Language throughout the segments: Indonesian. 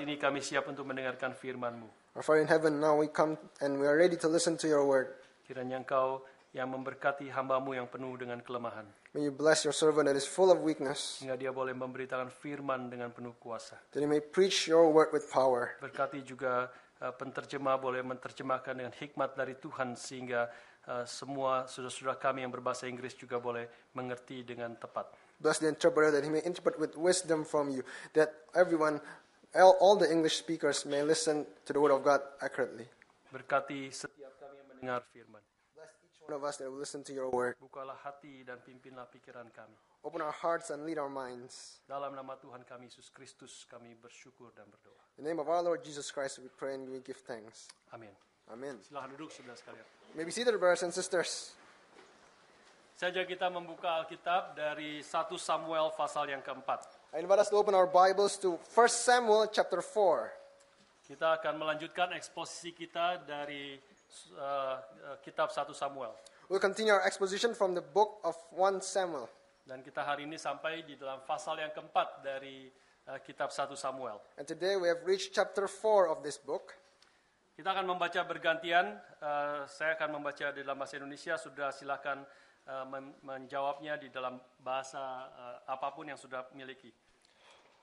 Ini kami siap untuk mendengarkan firman-Mu. Our Father in heaven, now we come and we are ready to listen to your word. Kiranya Engkau yang memberkati hambamu yang penuh dengan kelemahan. May you bless your servant that is full of weakness, Sehingga dia boleh memberitakan firman dengan penuh kuasa. that he may preach your word with power. Berkati juga eh, penterjemah boleh menerjemahkan dengan hikmat dari Tuhan sehingga eh, semua saudara-saudara kami yang berbahasa Inggris juga boleh mengerti dengan tepat. Bless the interpreter that he may interpret with wisdom from you, that everyone, all, all the English speakers may listen to the word of God accurately. Berkati setiap kami yang mendengar firman. Bless each one of us that will listen to your word. Bukalah hati dan pimpinlah pikiran kami. Open our hearts and lead our minds. Dalam nama Tuhan kami Yesus Kristus kami bersyukur dan berdoa. In the name of our Lord Jesus Christ, we pray and we give thanks. Amin. Amen. Silahkan duduk saudara sekalian. May be seated, brothers and sisters. Saja kita membuka Alkitab dari 1 Samuel pasal yang keempat. I invite us to open our Bibles to 1 Samuel chapter 4. Kita akan melanjutkan eksposisi kita dari eh, eh, kitab 1 Samuel. We'll continue our exposition from the book of 1 Samuel. Dan kita hari ini sampai di dalam pasal yang keempat dari eh, kitab 1 Samuel. And today we have reached chapter 4 of this book. Kita akan membaca bergantian. eh, saya akan membaca di dalam bahasa Indonesia. Sudah silakan eh, men- menjawabnya di dalam bahasa eh, apapun yang sudah miliki.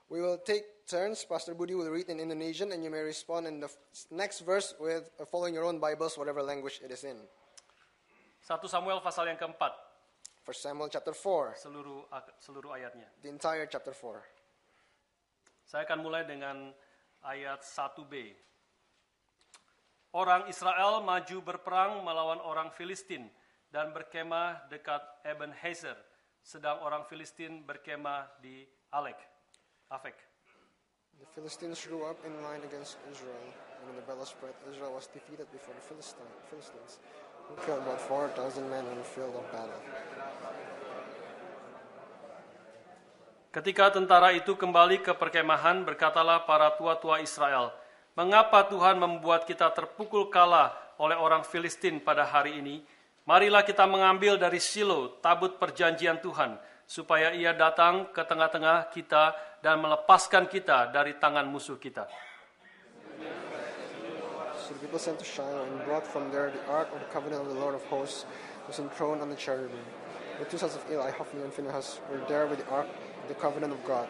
We will take turns. Pastor Budi will read in Indonesian, and you may respond in the f- next verse with uh, following your own Bibles, whatever language it is in. 1 Samuel pasal yang keempat. 1 Samuel chapter 4, Seluruh seluruh ayatnya. the entire chapter 4. Saya akan mulai dengan ayat 1b. Orang Israel maju berperang melawan orang Filistin dan berkemah dekat Eben Hezer, sedang orang Filistin berkemah di Alek, Afek. The Philistines drew up in line against Israel, and when the battle spread, Israel was defeated before the Philistine, Philistines, who killed about 4,000 men in the field of battle. Ketika tentara itu kembali ke perkemahan, berkatalah para tua-tua Israel, "Mengapa Tuhan membuat kita terpukul kalah oleh orang Filistin pada hari ini? Marilah kita mengambil dari Silo tabut perjanjian Tuhan, supaya ia datang ke tengah-tengah kita dan melepaskan kita dari tangan musuh kita." So the people sent to Shiloh and brought from there the ark of the covenant of the Lord of hosts, who was enthroned on the cherubim. The two sons of Eli, Hophni and Phinehas, were there with the ark of the covenant of God.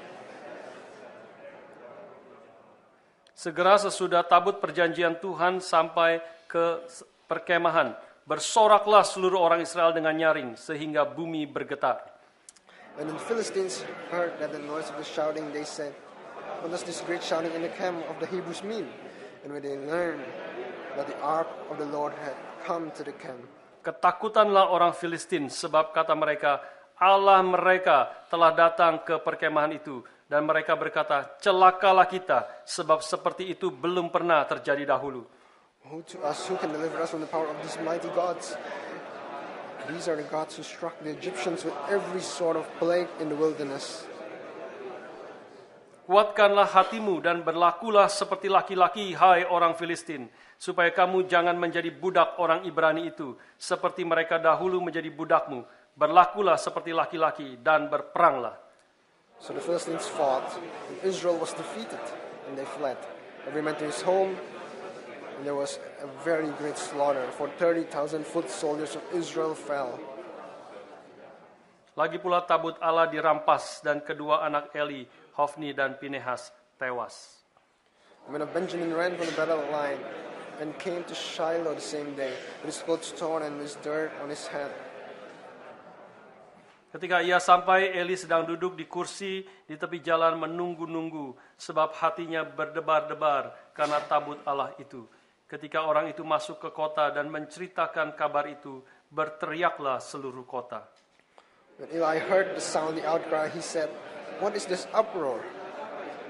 Segera sesudah tabut perjanjian Tuhan sampai ke s- perkemahan, bersoraklah seluruh orang Israel dengan nyaring sehingga bumi bergetar. When the Philistines heard that the noise of the shouting, they said, What does this great shouting in the camp of the Hebrews mean? And when they learned that the ark of the Lord had come to the camp, Ketakutanlah orang Filistin sebab kata mereka Allah mereka telah datang ke perkemahan itu dan mereka berkata celakalah kita sebab seperti itu belum pernah terjadi dahulu. Who to us who can deliver us from the power of these mighty gods? These are the gods who struck the Egyptians with every sort of plague in the wilderness. Kuatkanlah hatimu dan berlakulah seperti laki-laki hai orang Filistin supaya kamu jangan menjadi budak orang Ibrani itu seperti mereka dahulu menjadi budakmu. Berlakulah seperti laki-laki dan berperanglah. So the Philistines fought, and Israel was defeated, and they fled. Every man to his home, and there was a very great slaughter, for 30,000 foot soldiers of Israel fell. Lagi pula tabut Allah dirampas dan kedua anak Eli, Hofni dan Pinehas tewas. The men of Benjamin ran from the battle line and came to Shiloh the same day, with his clothes torn and his dirt on his head. Ketika ia sampai, Eli sedang duduk di kursi di tepi jalan menunggu-nunggu sebab hatinya berdebar-debar karena tabut Allah itu. Ketika orang itu masuk ke kota dan menceritakan kabar itu, berteriaklah seluruh kota. When Eli heard the sound, the outcry, he said, What is this uproar?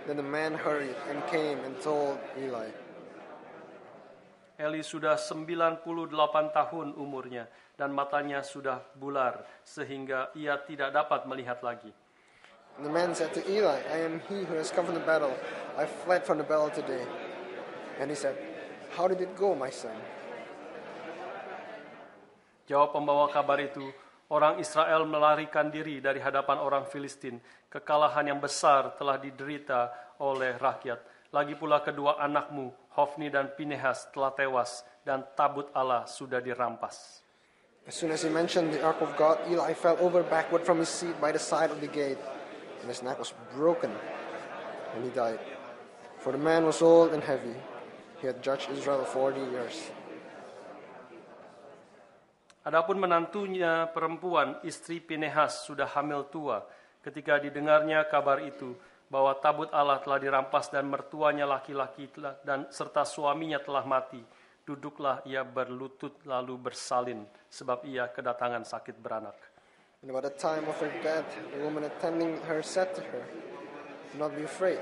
Then the man hurried and came and told Eli. Eli sudah 98 tahun umurnya dan matanya sudah bular sehingga ia tidak dapat melihat lagi. And the man said to Eli, I am he who has come from the battle. I fled from the battle today. And he said, How did it go, my son? Jawab pembawa kabar itu, orang Israel melarikan diri dari hadapan orang Filistin. Kekalahan yang besar telah diderita oleh rakyat. Lagi pula kedua anakmu, Hofni dan Pinehas, telah tewas dan tabut Allah sudah dirampas. As soon as he mentioned the ark of God, Eli fell over backward from his seat by the side of the gate, and his neck was broken, and he died. For the man was old and heavy. He had judged Israel forty years. Adapun menantunya perempuan, istri Pinehas sudah hamil tua. Ketika didengarnya kabar itu bahwa tabut Allah telah dirampas dan mertuanya laki-laki telah- dan serta suaminya telah mati, duduklah ia berlutut lalu bersalin sebab ia kedatangan sakit beranak. And about the time of her death, the woman attending her said to her, Do not be afraid,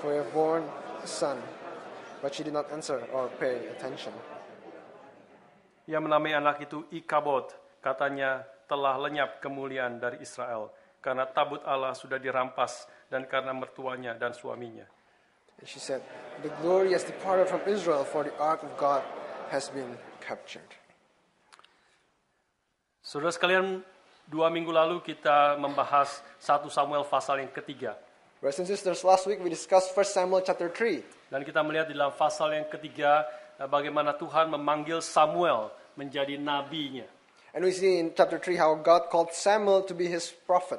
for you have borne a son. But she did not answer or pay attention. Ia menamai anak itu Ikabod, katanya telah lenyap kemuliaan dari Israel karena tabut Allah sudah dirampas dan karena mertuanya dan suaminya. And she said, The glory has departed from Israel, for the ark of God has been captured. Saudara sekalian, dua minggu lalu kita membahas 1 Samuel pasal yang ketiga. Brothers and sisters, last week we discussed 1 Samuel chapter 3, Dan kita melihat di dalam pasal yang ketiga eh, bagaimana Tuhan memanggil Samuel menjadi nabinya. and we see in chapter 3 how God called Samuel to be his prophet.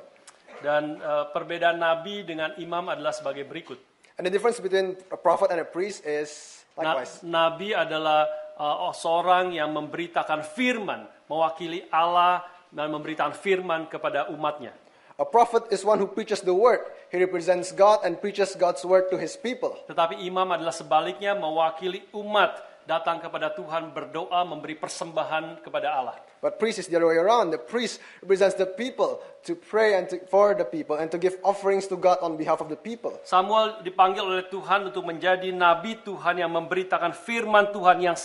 Dan eh, perbedaan nabi dengan imam adalah sebagai berikut. And the difference between a prophet and a priest is Na- likewise. nabi adalah eh, seorang yang memberitakan firman, mewakili Allah dan memberitakan firman kepada umatnya. A prophet is one who preaches the word. He represents God and preaches God's word to his people. Tetapi imam adalah sebaliknya mewakili umat datang kepada Tuhan berdoa memberi persembahan kepada Allah. But priest is the other way around. The priest represents the people to pray and to, for the people and to give offerings to God on behalf of the people. Samuel dipanggil oleh Tuhan untuk menjadi nabi Tuhan yang memberitakan firman Tuhan yang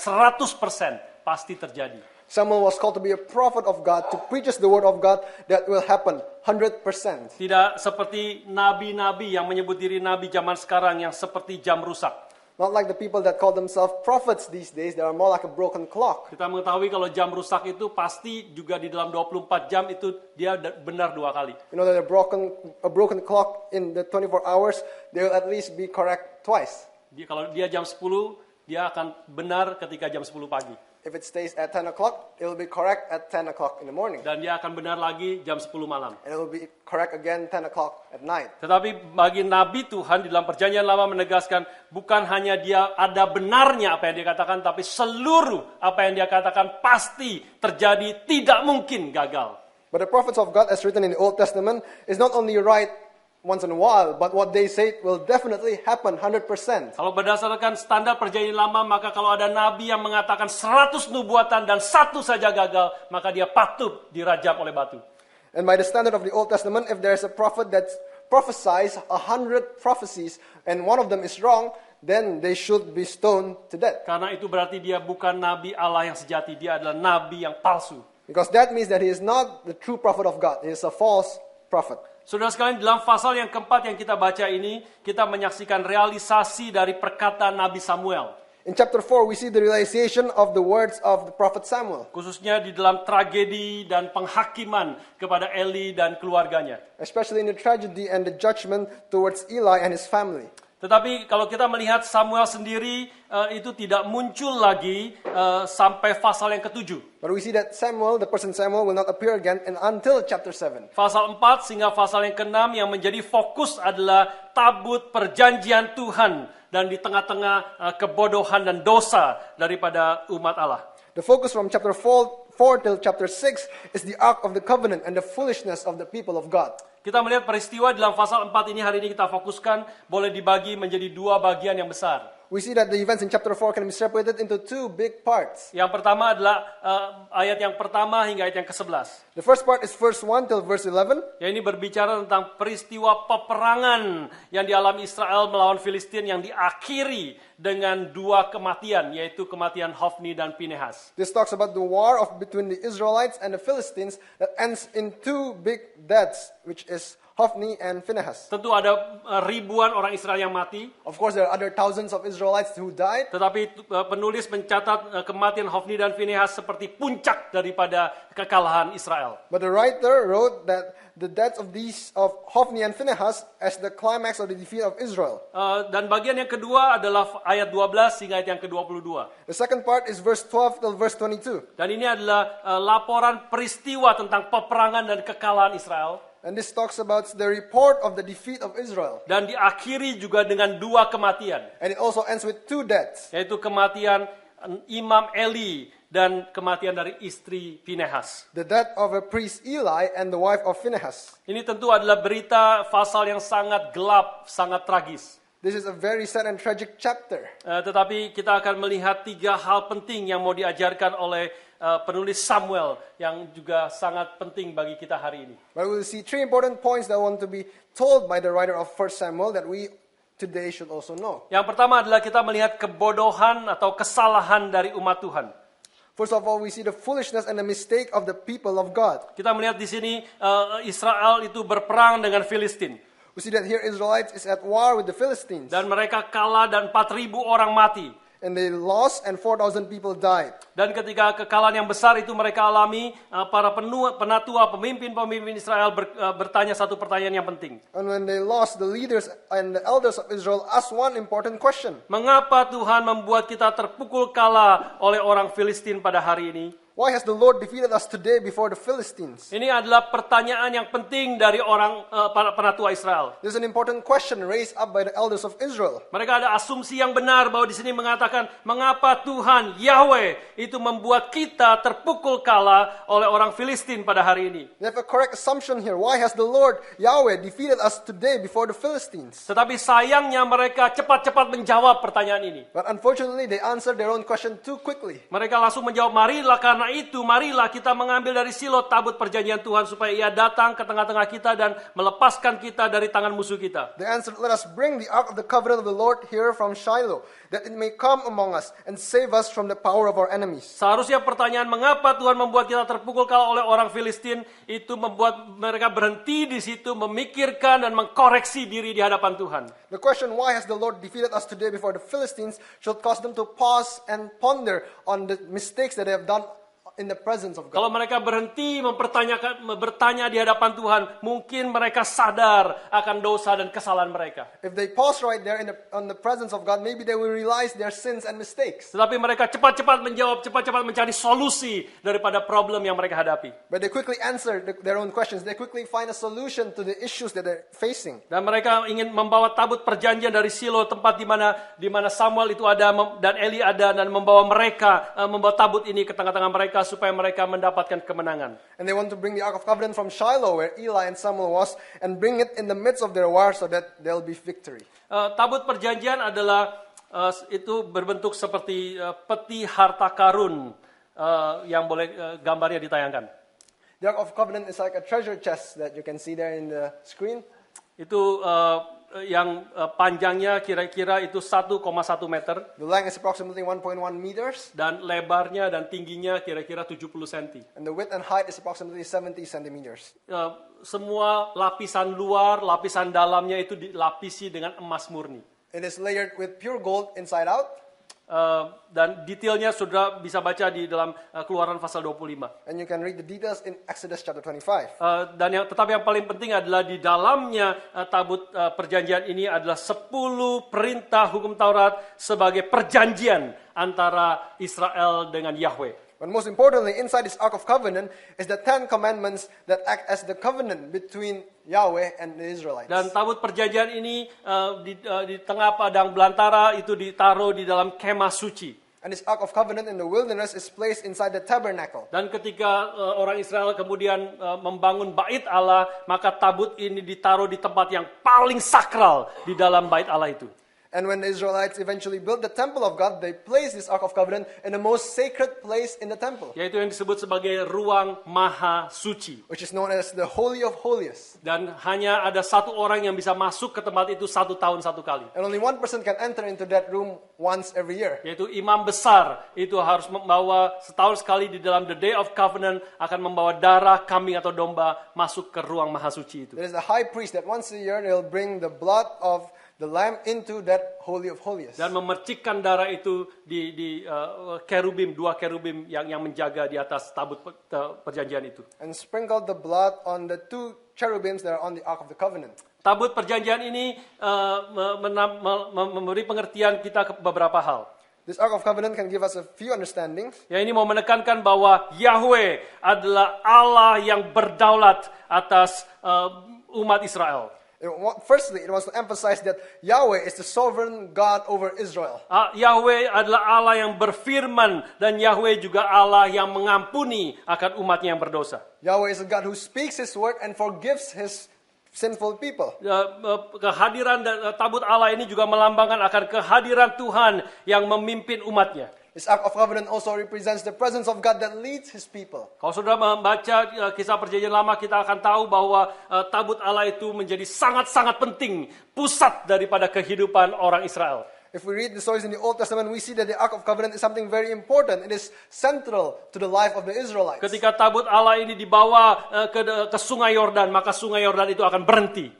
100% pasti terjadi. Samuel was called to be a prophet of God, to preaches the word of God that will happen 100%. Tidak seperti nabi-nabi yang menyebut diri nabi zaman sekarang yang seperti jam rusak. Not like the people that call themselves prophets these days, they are more like a broken clock. Kita mengetahui kalau jam rusak itu pasti juga di dalam 24 jam itu dia da- benar dua kali. You know that a broken, a broken clock in the 24 hours, they will at least be correct twice. Dia, kalau dia jam 10, dia akan benar ketika jam 10 pagi. If it stays at 10 o'clock, it will be correct at 10 o'clock in the morning. Dan dia akan benar lagi jam 10 malam. And it will be correct again 10 o'clock at night. Tetapi bagi Nabi Tuhan di dalam perjanjian lama menegaskan bukan hanya dia ada benarnya apa yang dia katakan tapi seluruh apa yang dia katakan pasti terjadi tidak mungkin gagal. But the prophets of God, as written in the Old Testament, is not only right once in a while, but what they say will definitely happen 100%. Kalau berdasarkan standar perjanjian lama maka kalau ada nabi yang mengatakan 100 nubuatan dan satu saja gagal maka dia patut dirajam oleh batu. And by the standard of the Old Testament, if there is a prophet that prophesies a hundred prophecies and one of them is wrong, then they should be stoned to death. Karena itu berarti dia bukan nabi Allah yang sejati, dia adalah nabi yang palsu. Because that means that he is not the true prophet of God, he is a false prophet. Saudara sekalian, dalam pasal yang keempat yang kita baca ini, kita menyaksikan realisasi dari perkataan Nabi Samuel. In chapter 4, we see the realization of the words of the prophet Samuel, Khususnya di dalam tragedi dan penghakiman kepada Eli dan keluarganya. especially in the tragedy and the judgment towards Eli and his family. Tetapi kalau kita melihat Samuel sendiri eh, itu tidak muncul lagi eh, sampai pasal yang ketujuh. But we see that Samuel, the person Samuel, will not appear again and until chapter 7. Pasal 4 sehingga pasal yang keenam yang menjadi fokus adalah tabut perjanjian Tuhan dan di tengah-tengah eh, kebodohan dan dosa daripada umat Allah. The focus from chapter 4, 4 till chapter 6 is the Ark of the Covenant and the foolishness of the people of God. Kita melihat peristiwa dalam pasal 4 ini hari ini kita fokuskan boleh dibagi menjadi dua bagian yang besar. We see that the events in chapter 4 can be separated into two big parts. Yang pertama adalah eh, ayat yang pertama hingga ayat yang ke-11. The first part is verse 1 till verse 11, Ya ini berbicara tentang peristiwa peperangan yang dialami Israel melawan Filistin yang diakhiri dengan dua kematian yaitu kematian Hofni dan Pinehas. This talks about the war of between the Israelites and the Philistines that ends in two big deaths, which is Hophni and Phinehas. Tentu ada eh, ribuan orang Israel yang mati, Of course, there are other thousands of Israelites who died, tetapi eh, penulis mencatat eh, kematian Hofni dan Finehas seperti puncak daripada kekalahan Israel. but the writer wrote that the death of these of Hophni and Phinehas as the climax of the defeat of Israel. Eh, dan bagian yang kedua adalah ayat 12 hingga ayat yang ke-22. The second part is verse 12 till verse 22, Dan ini adalah eh, laporan peristiwa tentang peperangan dan kekalahan Israel. and this talks about the report of the defeat of Israel. Dan diakhiri juga dengan dua kematian. And it also ends with two deaths. Yaitu kematian eh, Imam Eli dan kematian dari istri Finehas. The death of a priest Eli and the wife of Phinehas. Ini tentu adalah berita pasal yang sangat gelap, sangat tragis. This is a very sad and tragic chapter. Eh, tetapi kita akan melihat tiga hal penting yang mau diajarkan oleh eh, penulis Samuel yang juga sangat penting bagi kita hari ini. But we'll see three important points that want to be told by the writer of 1 Samuel that we today should also know. Yang pertama adalah kita melihat kebodohan atau kesalahan dari umat Tuhan. First of all, we see the foolishness and the mistake of the people of God. Kita melihat di sini eh, Israel itu berperang dengan Filistin We see that here Israelites is at war with the Philistines, dan mereka kalah dan 4000 orang mati. and they lost, and 4,000 people died. Dan ketika kekalahan yang besar itu mereka alami, eh, para penua- penatua, pemimpin-pemimpin Israel ber- eh, bertanya satu pertanyaan yang penting. And when they lost, the leaders and the elders of Israel asked one important question: Mengapa Tuhan membuat kita terpukul kalah oleh orang Filistin pada hari ini? Why has the Lord defeated us today before the Philistines? Ini adalah pertanyaan yang penting dari orang eh, para penatua Israel. There's an important question raised up by the elders of Israel. Mereka ada asumsi yang benar bahwa di sini mengatakan mengapa Tuhan Yahweh itu membuat kita terpukul kalah oleh orang Filistin pada hari ini. They have a correct assumption here. Why has the Lord Yahweh defeated us today before the Philistines? Tetapi sayangnya mereka cepat-cepat menjawab pertanyaan ini. But unfortunately, they answered their own question too quickly. Mereka langsung menjawab, marilah karena itu, marilah kita mengambil dari silo tabut perjanjian Tuhan supaya ia datang ke tengah-tengah kita dan melepaskan kita dari tangan musuh kita. They answered, Let us bring the ark of the covenant of the Lord here from Shiloh, that it may come among us and save us from the power of our enemies. Seharusnya pertanyaan mengapa Tuhan membuat kita terpukul kalau oleh orang Filistin itu membuat mereka berhenti di situ memikirkan dan mengkoreksi diri di hadapan Tuhan. The question, Why has the Lord defeated us today before the Philistines, should cause them to pause and ponder on the mistakes that they have done in the presence of God. Kalau mereka berhenti mempertanyakan bertanya di hadapan Tuhan, mungkin mereka sadar akan dosa dan kesalahan mereka. If they pause right there in the, on the presence of God, maybe they will realize their sins and mistakes. Tetapi mereka cepat-cepat menjawab, cepat-cepat mencari solusi daripada problem yang mereka hadapi. But they quickly answer the, their own questions. They quickly find a solution to the issues that they're facing. Dan mereka ingin membawa tabut perjanjian dari Silo tempat di mana di mana Samuel itu ada mem- dan Eli ada dan membawa mereka eh, membawa tabut ini ke tengah-tengah mereka supaya mereka mendapatkan kemenangan. And they want to bring the Ark of Covenant from Shiloh, where Eli and Samuel was, and bring it in the midst of their war so that there'll be victory. Eh, tabut perjanjian adalah eh, itu berbentuk seperti eh, peti harta karun eh, yang boleh eh, gambarnya ditayangkan. The Ark of Covenant is like a treasure chest that you can see there in the screen. Itu eh, yang eh, panjangnya kira-kira itu 1,1 meter The length is approximately 1.1 meters, dan lebarnya dan tingginya kira-kira 70 cm. and the width and height is approximately 70 centimeters. Eh, semua lapisan luar, lapisan dalamnya itu dilapisi dengan emas murni. It is layered with pure gold inside out, Eh, dan detailnya saudara bisa baca di dalam eh, keluaran pasal 25. and you can read the details in Exodus chapter 25. Eh, dan yang tetapi yang paling penting adalah di dalamnya eh, tabut eh, perjanjian ini adalah 10 perintah hukum Taurat sebagai perjanjian antara Israel dengan Yahweh. But most importantly, inside this Ark of Covenant is the Ten Commandments that act as the covenant between Yahweh and the Israelites. Dan tabut perjanjian ini eh, di, eh, di tengah padang belantara itu ditaruh di dalam kemah suci. And this Ark of Covenant in the wilderness is placed inside the tabernacle. Dan ketika eh, orang Israel kemudian eh, membangun bait Allah, maka tabut ini ditaruh di tempat yang paling sakral di dalam bait Allah itu. And when the Israelites eventually built the temple of God, they placed this Ark of Covenant in the most sacred place in the temple, yaitu yang disebut sebagai ruang maha suci. which is known as the Holy of Holies. Dan hanya ada satu orang yang bisa masuk ke tempat itu satu tahun satu kali. And only one person can enter into that room once every year. Yaitu imam besar itu harus membawa setahun sekali di dalam the day of covenant akan membawa darah kambing atau domba masuk ke ruang maha suci itu. There is the high priest that once a year they'll bring the blood of the lamb into that Holy of Holies. dan memercikkan darah itu di, di eh, kerubim dua kerubim yang yang menjaga di atas tabut pe- te- perjanjian itu. and sprinkled the blood on the two cherubims that are on the Ark of the Covenant. Tabut perjanjian ini eh, me- mena- me- me- memberi pengertian kita ke beberapa hal. This Ark of Covenant can give us a few understandings. Ya ini mau menekankan bahwa Yahweh adalah Allah yang berdaulat atas eh, umat Israel. It wa- firstly, it wants to emphasize that Yahweh is the sovereign God over Israel. Ah, Yahweh adalah Allah yang berfirman dan Yahweh juga Allah yang mengampuni akan umatnya yang berdosa. Yahweh is a God who speaks His word and forgives His sinful people. Eh, eh, kehadiran dan eh, tabut Allah ini juga melambangkan akan kehadiran Tuhan yang memimpin umatnya. This Ark of Covenant also represents the presence of God that leads His people. Kalau saudara membaca eh, kisah perjanjian lama, kita akan tahu bahwa eh, tabut Allah itu menjadi sangat-sangat penting, pusat daripada kehidupan orang Israel. If we read the stories in the Old Testament, we see that the Ark of Covenant is something very important. It is central to the life of the Israelites. Ketika tabut Allah ini dibawa eh, ke, ke sungai Yordan, maka sungai Yordan itu akan berhenti.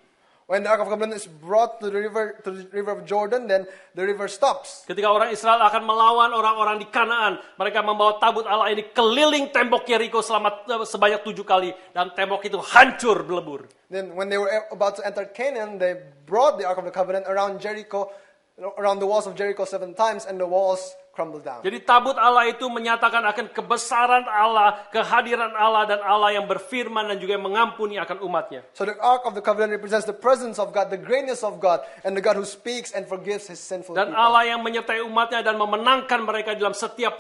When the Ark of Covenant is brought to the river, to the river of Jordan, then the river stops. Ketika orang Israel akan melawan orang-orang di Kanaan, mereka membawa tabut Allah ini keliling tembok Yeriko selama eh, sebanyak tujuh kali, dan tembok itu hancur belebur. Then, when they were about to enter Canaan, they brought the Ark of the Covenant around Jericho, around the walls of Jericho seven times, and the walls crumbled down. Jadi tabut Allah itu menyatakan akan kebesaran Allah, kehadiran Allah dan Allah yang berfirman dan juga yang mengampuni akan umatnya. So, the Ark of the Covenant represents the presence of God, the greatness of God, and the God who speaks and forgives his sinful Dan people. Allah yang menyertai umatnya dan memenangkan mereka dalam setiap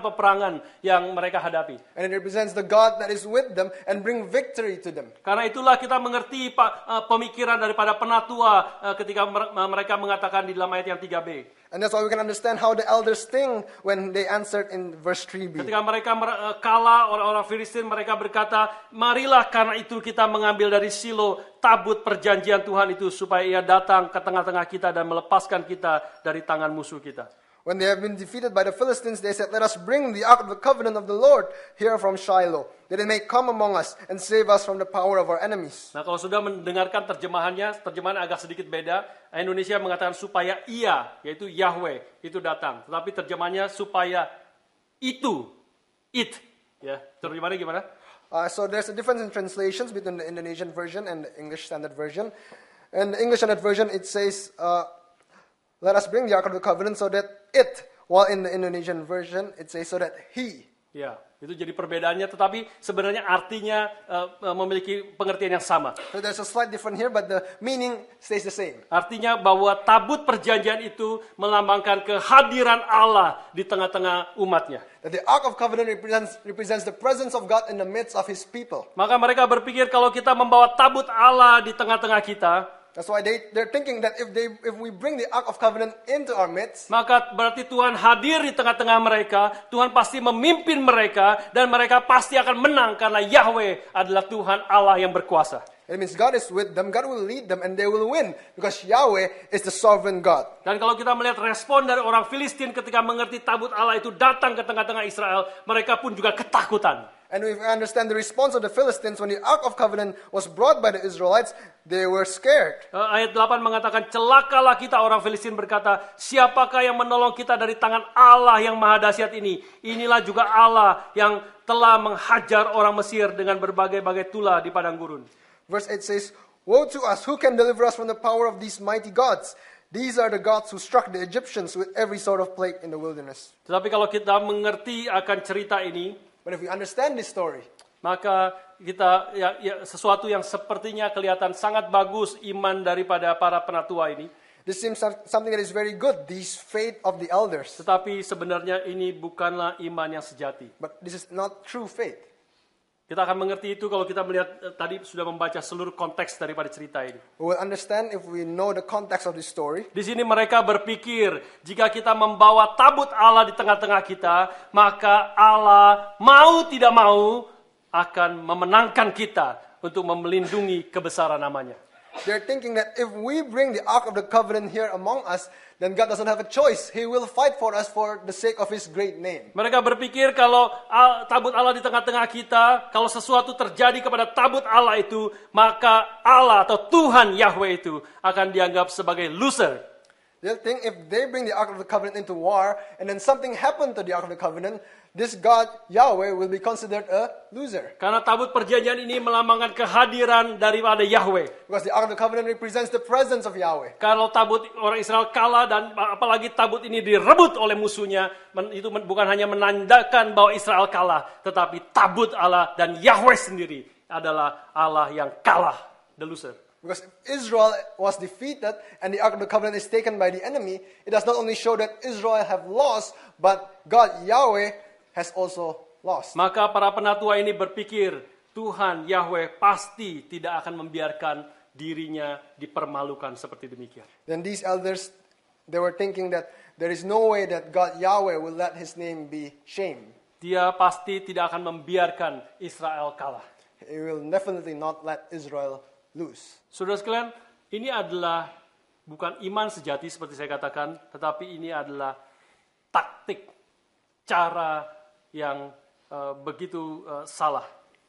peperangan-peperangan yang mereka hadapi. And it represents the God that is with them and bring victory to them. Karena itulah kita mengerti Pak, eh, pemikiran daripada penatua eh, ketika mer- mereka mengatakan di dalam ayat yang 3b. And that's why we can understand how the elders think when they answered in verse 3b. Ketika mereka mer- eh, kalah orang-orang Filistin mereka berkata, "Marilah karena itu kita mengambil dari Silo tabut perjanjian Tuhan itu supaya ia datang ke tengah-tengah kita dan melepaskan kita dari tangan musuh kita." When they have been defeated by the Philistines, they said, Let us bring the ark of the covenant of the Lord here from Shiloh, that it may come among us and save us from the power of our enemies. Nah, kalau sudah mendengarkan terjemahannya, terjemahan agak sedikit beda. Indonesia mengatakan supaya ia, yaitu Yahweh, itu datang. Tetapi terjemahannya supaya itu, it, ya. Terjemahannya gimana? Uh, so there's a difference in translations between the Indonesian version and the English Standard Version. In the English Standard Version, it says, uh, Let us bring the ark of the covenant so that it, while in the Indonesian version, it says, So that he. Ya, itu jadi perbedaannya tetapi sebenarnya artinya eh, eh, memiliki pengertian yang sama. So there's a slight difference here, but the meaning stays the same. Artinya bahwa tabut perjanjian itu melambangkan kehadiran Allah di tengah-tengah umatnya. That the ark of covenant represents, represents the presence of God in the midst of his people. Maka mereka berpikir kalau kita membawa tabut Allah di tengah-tengah kita, That's why they, they're thinking that if, they, if we bring the Ark of Covenant into our midst, maka berarti Tuhan hadir di tengah-tengah mereka, Tuhan pasti memimpin mereka, dan mereka pasti akan menang karena Yahweh adalah Tuhan Allah yang berkuasa. it means God is with them, God will lead them, and they will win because Yahweh is the sovereign God. Dan kalau kita melihat respon dari orang Filistin ketika mengerti tabut Allah itu datang ke tengah-tengah Israel, mereka pun juga ketakutan. And if we understand the response of the Philistines when the Ark of Covenant was brought by the Israelites, they were scared. Eh, Ayat 8 mengatakan, celakalah kita orang Filistin berkata, siapakah yang menolong kita dari tangan Allah yang maha dahsyat ini? Inilah juga Allah yang telah menghajar orang Mesir dengan berbagai-bagai tula di padang gurun. Verse 8 says, Woe to us, who can deliver us from the power of these mighty gods? These are the gods who struck the Egyptians with every sort of plague in the wilderness. Tetapi kalau kita mengerti akan cerita ini, But if we understand this story, maka kita ya, ya, sesuatu yang sepertinya kelihatan sangat bagus iman daripada para penatua ini, this seems some- something that is very good, these faith of the elders. tetapi sebenarnya ini bukanlah iman yang sejati. But this is not true faith. Kita akan mengerti itu kalau kita melihat eh, tadi sudah membaca seluruh konteks daripada cerita ini. We will understand if we know the context of this story. Di sini mereka berpikir, jika kita membawa tabut Allah di tengah-tengah kita, maka Allah mau tidak mau akan memenangkan kita untuk melindungi kebesaran namanya. They're thinking that if we bring the Ark of the Covenant here among us, then God doesn't have a choice. He will fight for us for the sake of His great name. Mereka berpikir kalau ah, tabut Allah di tengah-tengah kita, kalau sesuatu terjadi kepada tabut Allah itu, maka Allah atau Tuhan Yahweh itu akan dianggap sebagai loser. They'll think if they bring the Ark of the Covenant into war, and then something happened to the Ark of the Covenant, this God, Yahweh, will be considered a loser. Karena tabut perjanjian ini melambangkan kehadiran daripada Yahweh. Because the Ark of the Covenant represents the presence of Yahweh. Kalau tabut orang Israel kalah dan apalagi tabut ini direbut oleh musuhnya, men- itu men- bukan hanya menandakan bahwa Israel kalah, tetapi tabut Allah dan Yahweh sendiri adalah Allah yang kalah, the loser. Because if Israel was defeated and the Ark of the Covenant is taken by the enemy, it does not only show that Israel have lost, but God, Yahweh, has also lost. Maka para penatua ini berpikir, Tuhan Yahweh pasti tidak akan membiarkan dirinya dipermalukan seperti demikian. Then these elders, they were thinking that there is no way that God Yahweh will let his name be shamed. Dia pasti tidak akan membiarkan Israel kalah. He will definitely not let Israel lose. Saudara sekalian, ini adalah bukan iman sejati seperti saya katakan, tetapi ini adalah taktik, cara yang eh, begitu eh, salah.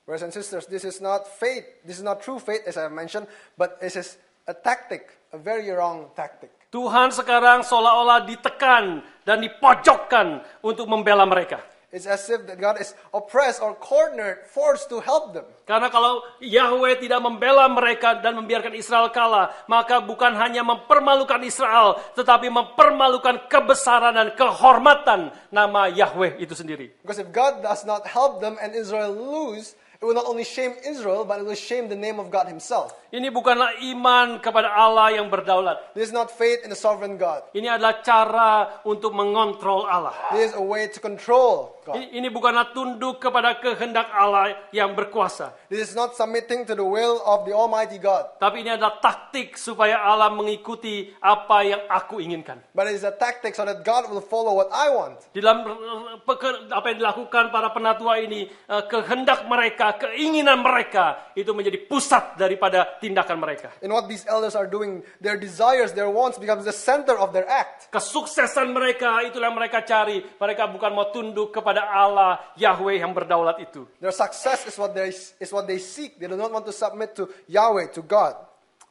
Brothers and sisters, this is not faith. This is not true faith, as I mentioned, but this is a tactic, a very wrong tactic. Tuhan sekarang seolah-olah ditekan dan dipojokkan untuk membela mereka. It's as if that God is oppressed or cornered, forced to help them. Karena kalau Yahweh tidak membela mereka dan membiarkan Israel kalah, maka bukan hanya mempermalukan Israel, tetapi mempermalukan kebesaran dan kehormatan nama Yahweh itu sendiri. Because if God does not help them and Israel lose, it will not only shame Israel, but it will shame the name of God Himself. Ini bukanlah iman kepada Allah yang berdaulat. This is not faith in the sovereign God. Ini adalah cara untuk mengontrol Allah. This is a way to control God. Ini, ini bukanlah tunduk kepada kehendak Allah yang berkuasa. This is not submitting to the will of the Almighty God, Tapi ini adalah taktik supaya Allah mengikuti apa yang aku inginkan. but it is a tactic so that God will follow what I want. Di dalam eh, peke- apa yang dilakukan para penatua ini, eh, kehendak mereka, keinginan mereka itu menjadi pusat daripada tindakan mereka. In what these elders are doing, their desires, their wants becomes the center of their act. Kesuksesan mereka itulah yang mereka cari. Mereka bukan mau tunduk kepada Allah Yahweh yang berdaulat itu. Their success is what they, is what they seek. They do not want to submit to Yahweh, to God.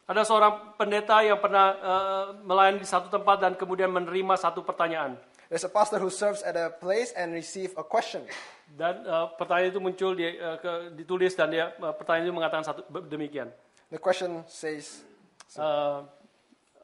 Ada seorang pendeta yang pernah eh, melayani di satu tempat dan kemudian menerima satu pertanyaan. There's a pastor who serves at a place and receives a question. Dan eh, pertanyaan itu muncul di, eh, ke- ditulis dan dia eh, pertanyaan itu mengatakan satu be- demikian. The question says, Eh,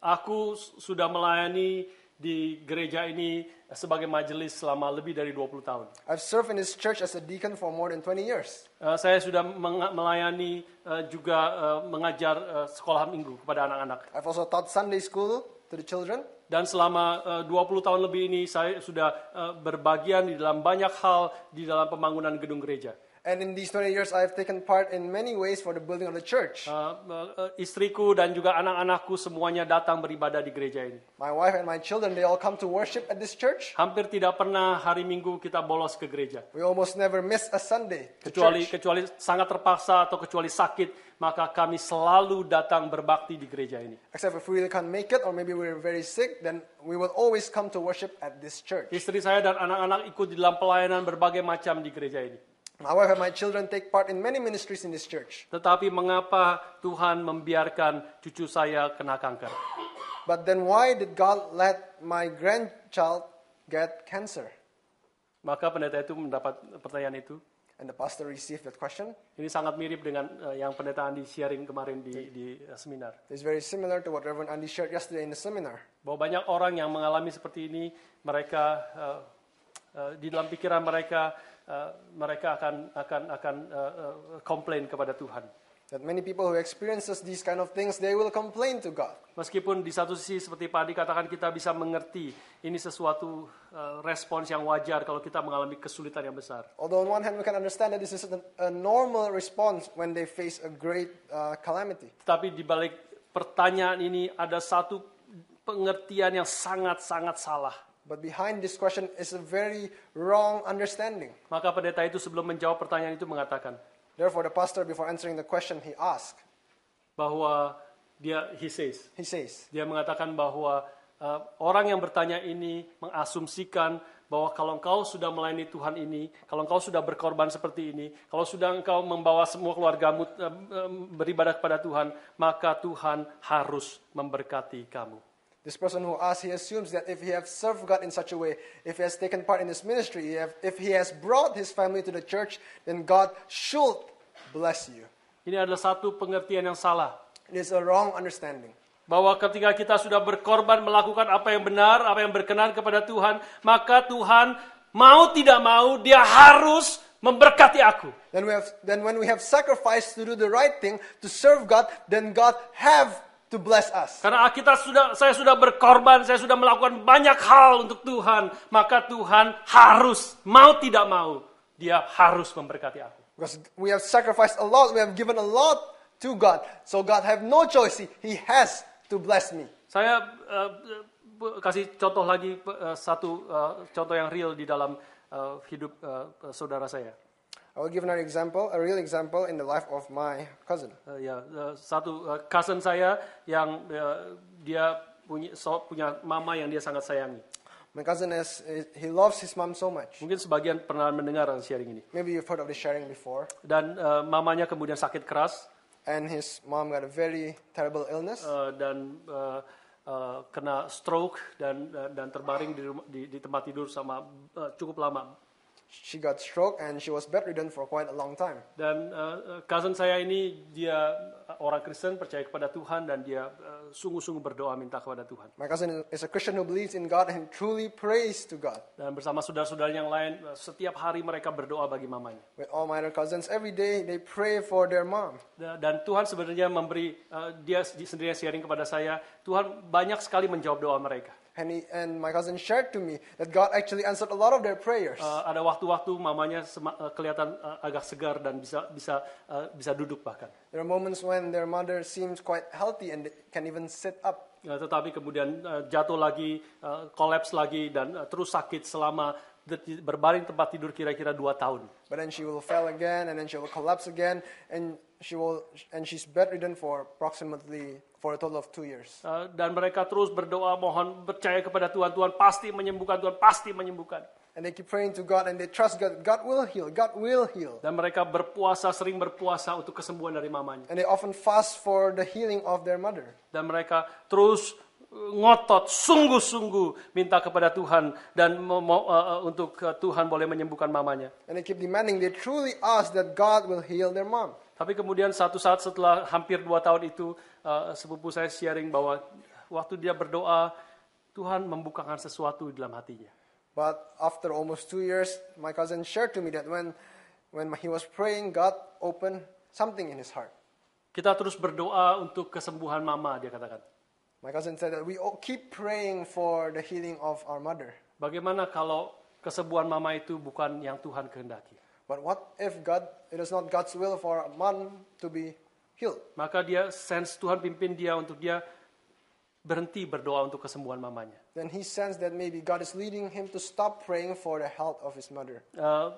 aku s- sudah melayani di gereja ini sebagai majelis selama lebih dari 20 tahun. I've served in this church as a deacon for more than 20 years. Eh, saya sudah meng- melayani eh, juga eh, mengajar eh, sekolah minggu kepada anak-anak. I've also taught Sunday school to the children. Dan selama eh, 20 tahun lebih ini saya sudah eh, berbagian di dalam banyak hal di dalam pembangunan gedung gereja. And in these 20 years, I've taken part in many ways for the building of the church. Eh, eh, istriku dan juga anak-anakku semuanya datang beribadah di gereja ini. My wife and my children, they all come to worship at this church. Hampir tidak pernah hari Minggu kita bolos ke gereja. We almost never miss a Sunday to Kecuali church. kecuali sangat terpaksa atau kecuali sakit, maka kami selalu datang berbakti di gereja ini. Except if we really can't make it, or maybe we're very sick, then we will always come to worship at this church. Istri saya dan anak-anak ikut di dalam pelayanan berbagai macam di gereja ini. My wife and my children take part in many ministries in this church. Tetapi mengapa Tuhan membiarkan cucu saya kena kanker? But then why did God let my grandchild get cancer? Maka pendeta itu mendapat pertanyaan itu. And the pastor received that question. Ini sangat mirip dengan eh, yang pendeta Andi sharing kemarin di, di eh, seminar. It's very similar to what Reverend Andy shared yesterday in the seminar. Bahwa banyak orang yang mengalami seperti ini, mereka eh, eh, di dalam pikiran mereka eh, mereka akan akan akan eh, eh, komplain kepada Tuhan. That many people who experiences these kind of things, they will complain to God. Meskipun di satu sisi seperti Pak Adi katakan kita bisa mengerti ini sesuatu eh, respons yang wajar kalau kita mengalami kesulitan yang besar. Although on one hand we can understand that this is a, a normal response when they face a great uh, calamity. Tetapi di balik pertanyaan ini ada satu pengertian yang sangat-sangat salah. But behind this question is a very wrong understanding. Maka pendeta itu sebelum menjawab pertanyaan itu mengatakan Therefore, the pastor, before answering the question, he asked, bahwa dia he says, he says, dia mengatakan bahwa eh, orang yang bertanya ini mengasumsikan bahwa kalau engkau sudah melayani Tuhan ini, kalau engkau sudah berkorban seperti ini, kalau sudah engkau membawa semua keluargamu eh, eh, beribadah kepada Tuhan, maka Tuhan harus memberkati kamu. This person who asks, he assumes that if he has served God in such a way, if he has taken part in his ministry, he have- if he has brought his family to the church, then God should bless you. Ini adalah satu pengertian yang salah. It is a wrong understanding. Bahwa ketika kita sudah berkorban melakukan apa yang benar, apa yang berkenan kepada Tuhan, maka Tuhan mau tidak mau dia harus memberkati aku. Then, we have, then when we have sacrificed to do the right thing, to serve God, then God have to bless us. Karena kita sudah saya sudah berkorban, saya sudah melakukan banyak hal untuk Tuhan, maka Tuhan harus mau tidak mau dia harus memberkati aku. Because we have sacrificed a lot, we have given a lot to God. So God have no choice. He, he has to bless me. Saya eh, bu- kasih contoh lagi eh, satu eh, contoh yang real di dalam eh, hidup eh, saudara saya. I will give another example, a real example in the life of my cousin. Eh, ya eh, satu eh, cousin saya yang eh, dia punya so- punya mama yang dia sangat sayangi. My cousin is, is- he loves his mom so much. Mungkin sebagian pernah mendengar sharing ini. Maybe you've heard of the sharing before. Dan eh, mamanya kemudian sakit keras And his mom got a very terrible illness, eh, dan eh, eh, kena stroke dan dan- dan terbaring di, rumah- di di tempat tidur sama eh, cukup lama. she got stroke, and she was bedridden for quite a long time. Dan eh, eh, cousin saya ini dia eh, orang Kristen percaya kepada Tuhan dan dia eh, sungguh-sungguh berdoa minta kepada Tuhan. My cousin is a Christian who believes in God and truly prays to God. Dan bersama saudara-saudara yang lain eh, setiap hari mereka berdoa bagi mamanya. With all my other cousins, every day they pray for their mom. Da- Dan Tuhan sebenarnya memberi eh, dia s- sendiri sharing kepada saya, Tuhan banyak sekali menjawab doa mereka. And, he, and my cousin shared to me that God actually answered a lot of their prayers. Eh, ada waktu-waktu mamanya sema- eh, kelihatan eh, agak segar dan bisa bisa eh, bisa duduk bahkan. There are moments when their mother seems quite healthy and they can even sit up. Ya, tetapi kemudian eh, jatuh lagi, eh, kolaps lagi, dan eh, terus sakit selama deti- berbaring tempat tidur kira-kira dua tahun. But then she will fail again, and then she will collapse again, and she will, and she's bedridden for approximately for a total of two years. Eh, dan mereka terus berdoa, mohon percaya kepada Tuhan, Tuhan pasti menyembuhkan, Tuhan pasti menyembuhkan. And they keep praying to God, and they trust God. God will heal. God will heal. Dan mereka berpuasa, sering berpuasa untuk kesembuhan dari mamanya. And they often fast for the healing of their mother. Dan mereka terus eh, ngotot, sungguh-sungguh minta kepada Tuhan dan mau- mau, eh, eh, untuk eh, Tuhan boleh menyembuhkan mamanya. And they keep demanding. They truly ask that God will heal their mom. Tapi kemudian satu saat setelah hampir dua tahun itu, eh, sepupu saya sharing bahwa waktu dia berdoa, Tuhan membukakan sesuatu di dalam hatinya. But after almost two years, my cousin shared to me that when, when he was praying, God opened something in his heart. Kita terus berdoa untuk kesembuhan mama, dia katakan. My cousin said that we all keep praying for the healing of our mother. Bagaimana kalau kesembuhan mama itu bukan yang Tuhan kehendaki? But what if God, it is not God's will for a mom to be healed? Maka dia sense Tuhan pimpin dia untuk dia berhenti berdoa untuk kesembuhan mamanya. Then he sensed that maybe God is leading him to stop praying for the health of his mother. Eh,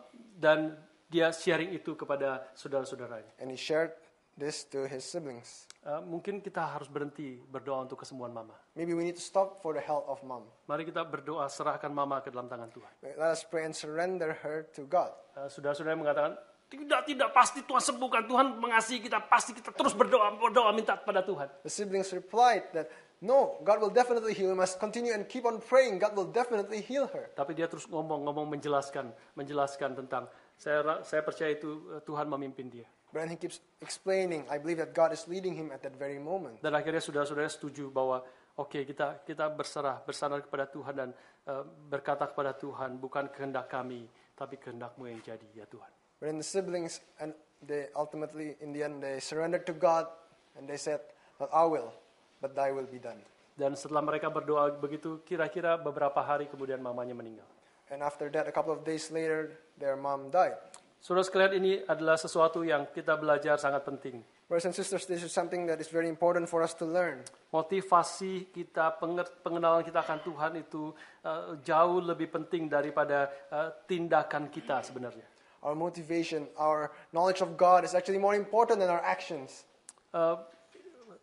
dan dia sharing itu kepada saudara-saudaranya. And he shared this to his siblings. Eh, mungkin kita harus berhenti berdoa untuk kesembuhan mama. Maybe we need to stop for the health of mom. Mari kita berdoa serahkan mama ke dalam tangan Tuhan. Let us pray and surrender her to God. Eh, Saudara-saudara yang mengatakan tidak tidak pasti Tuhan sembuhkan Tuhan mengasihi kita pasti kita terus berdoa berdoa minta kepada Tuhan. The siblings replied that no, God will definitely heal. We must continue and keep on praying. God will definitely heal her. Tapi dia terus ngomong-ngomong menjelaskan menjelaskan tentang saya ra- saya percaya itu eh, Tuhan memimpin dia. But then he keeps explaining. I believe that God is leading him at that very moment. Dan akhirnya saudara-saudara setuju bahwa oke kita kita berserah bersandar kepada Tuhan dan eh, berkata kepada Tuhan bukan kehendak kami tapi kehendakmu yang jadi ya Tuhan. But then the siblings and they ultimately, in the end, they surrendered to God and they said, Not our will, but thy will be done. Dan setelah mereka berdoa begitu, kira-kira beberapa hari kemudian mamanya meninggal. And after that, a couple of days later, their mom died. Saudara sekalian, ini adalah sesuatu yang kita belajar sangat penting. Brothers and sisters, this is something that is very important for us to learn. Motivasi kita, penger- pengenalan kita akan Tuhan itu eh, jauh lebih penting daripada eh, tindakan kita sebenarnya. Our motivation, our knowledge of God is actually more important than our actions. Eh,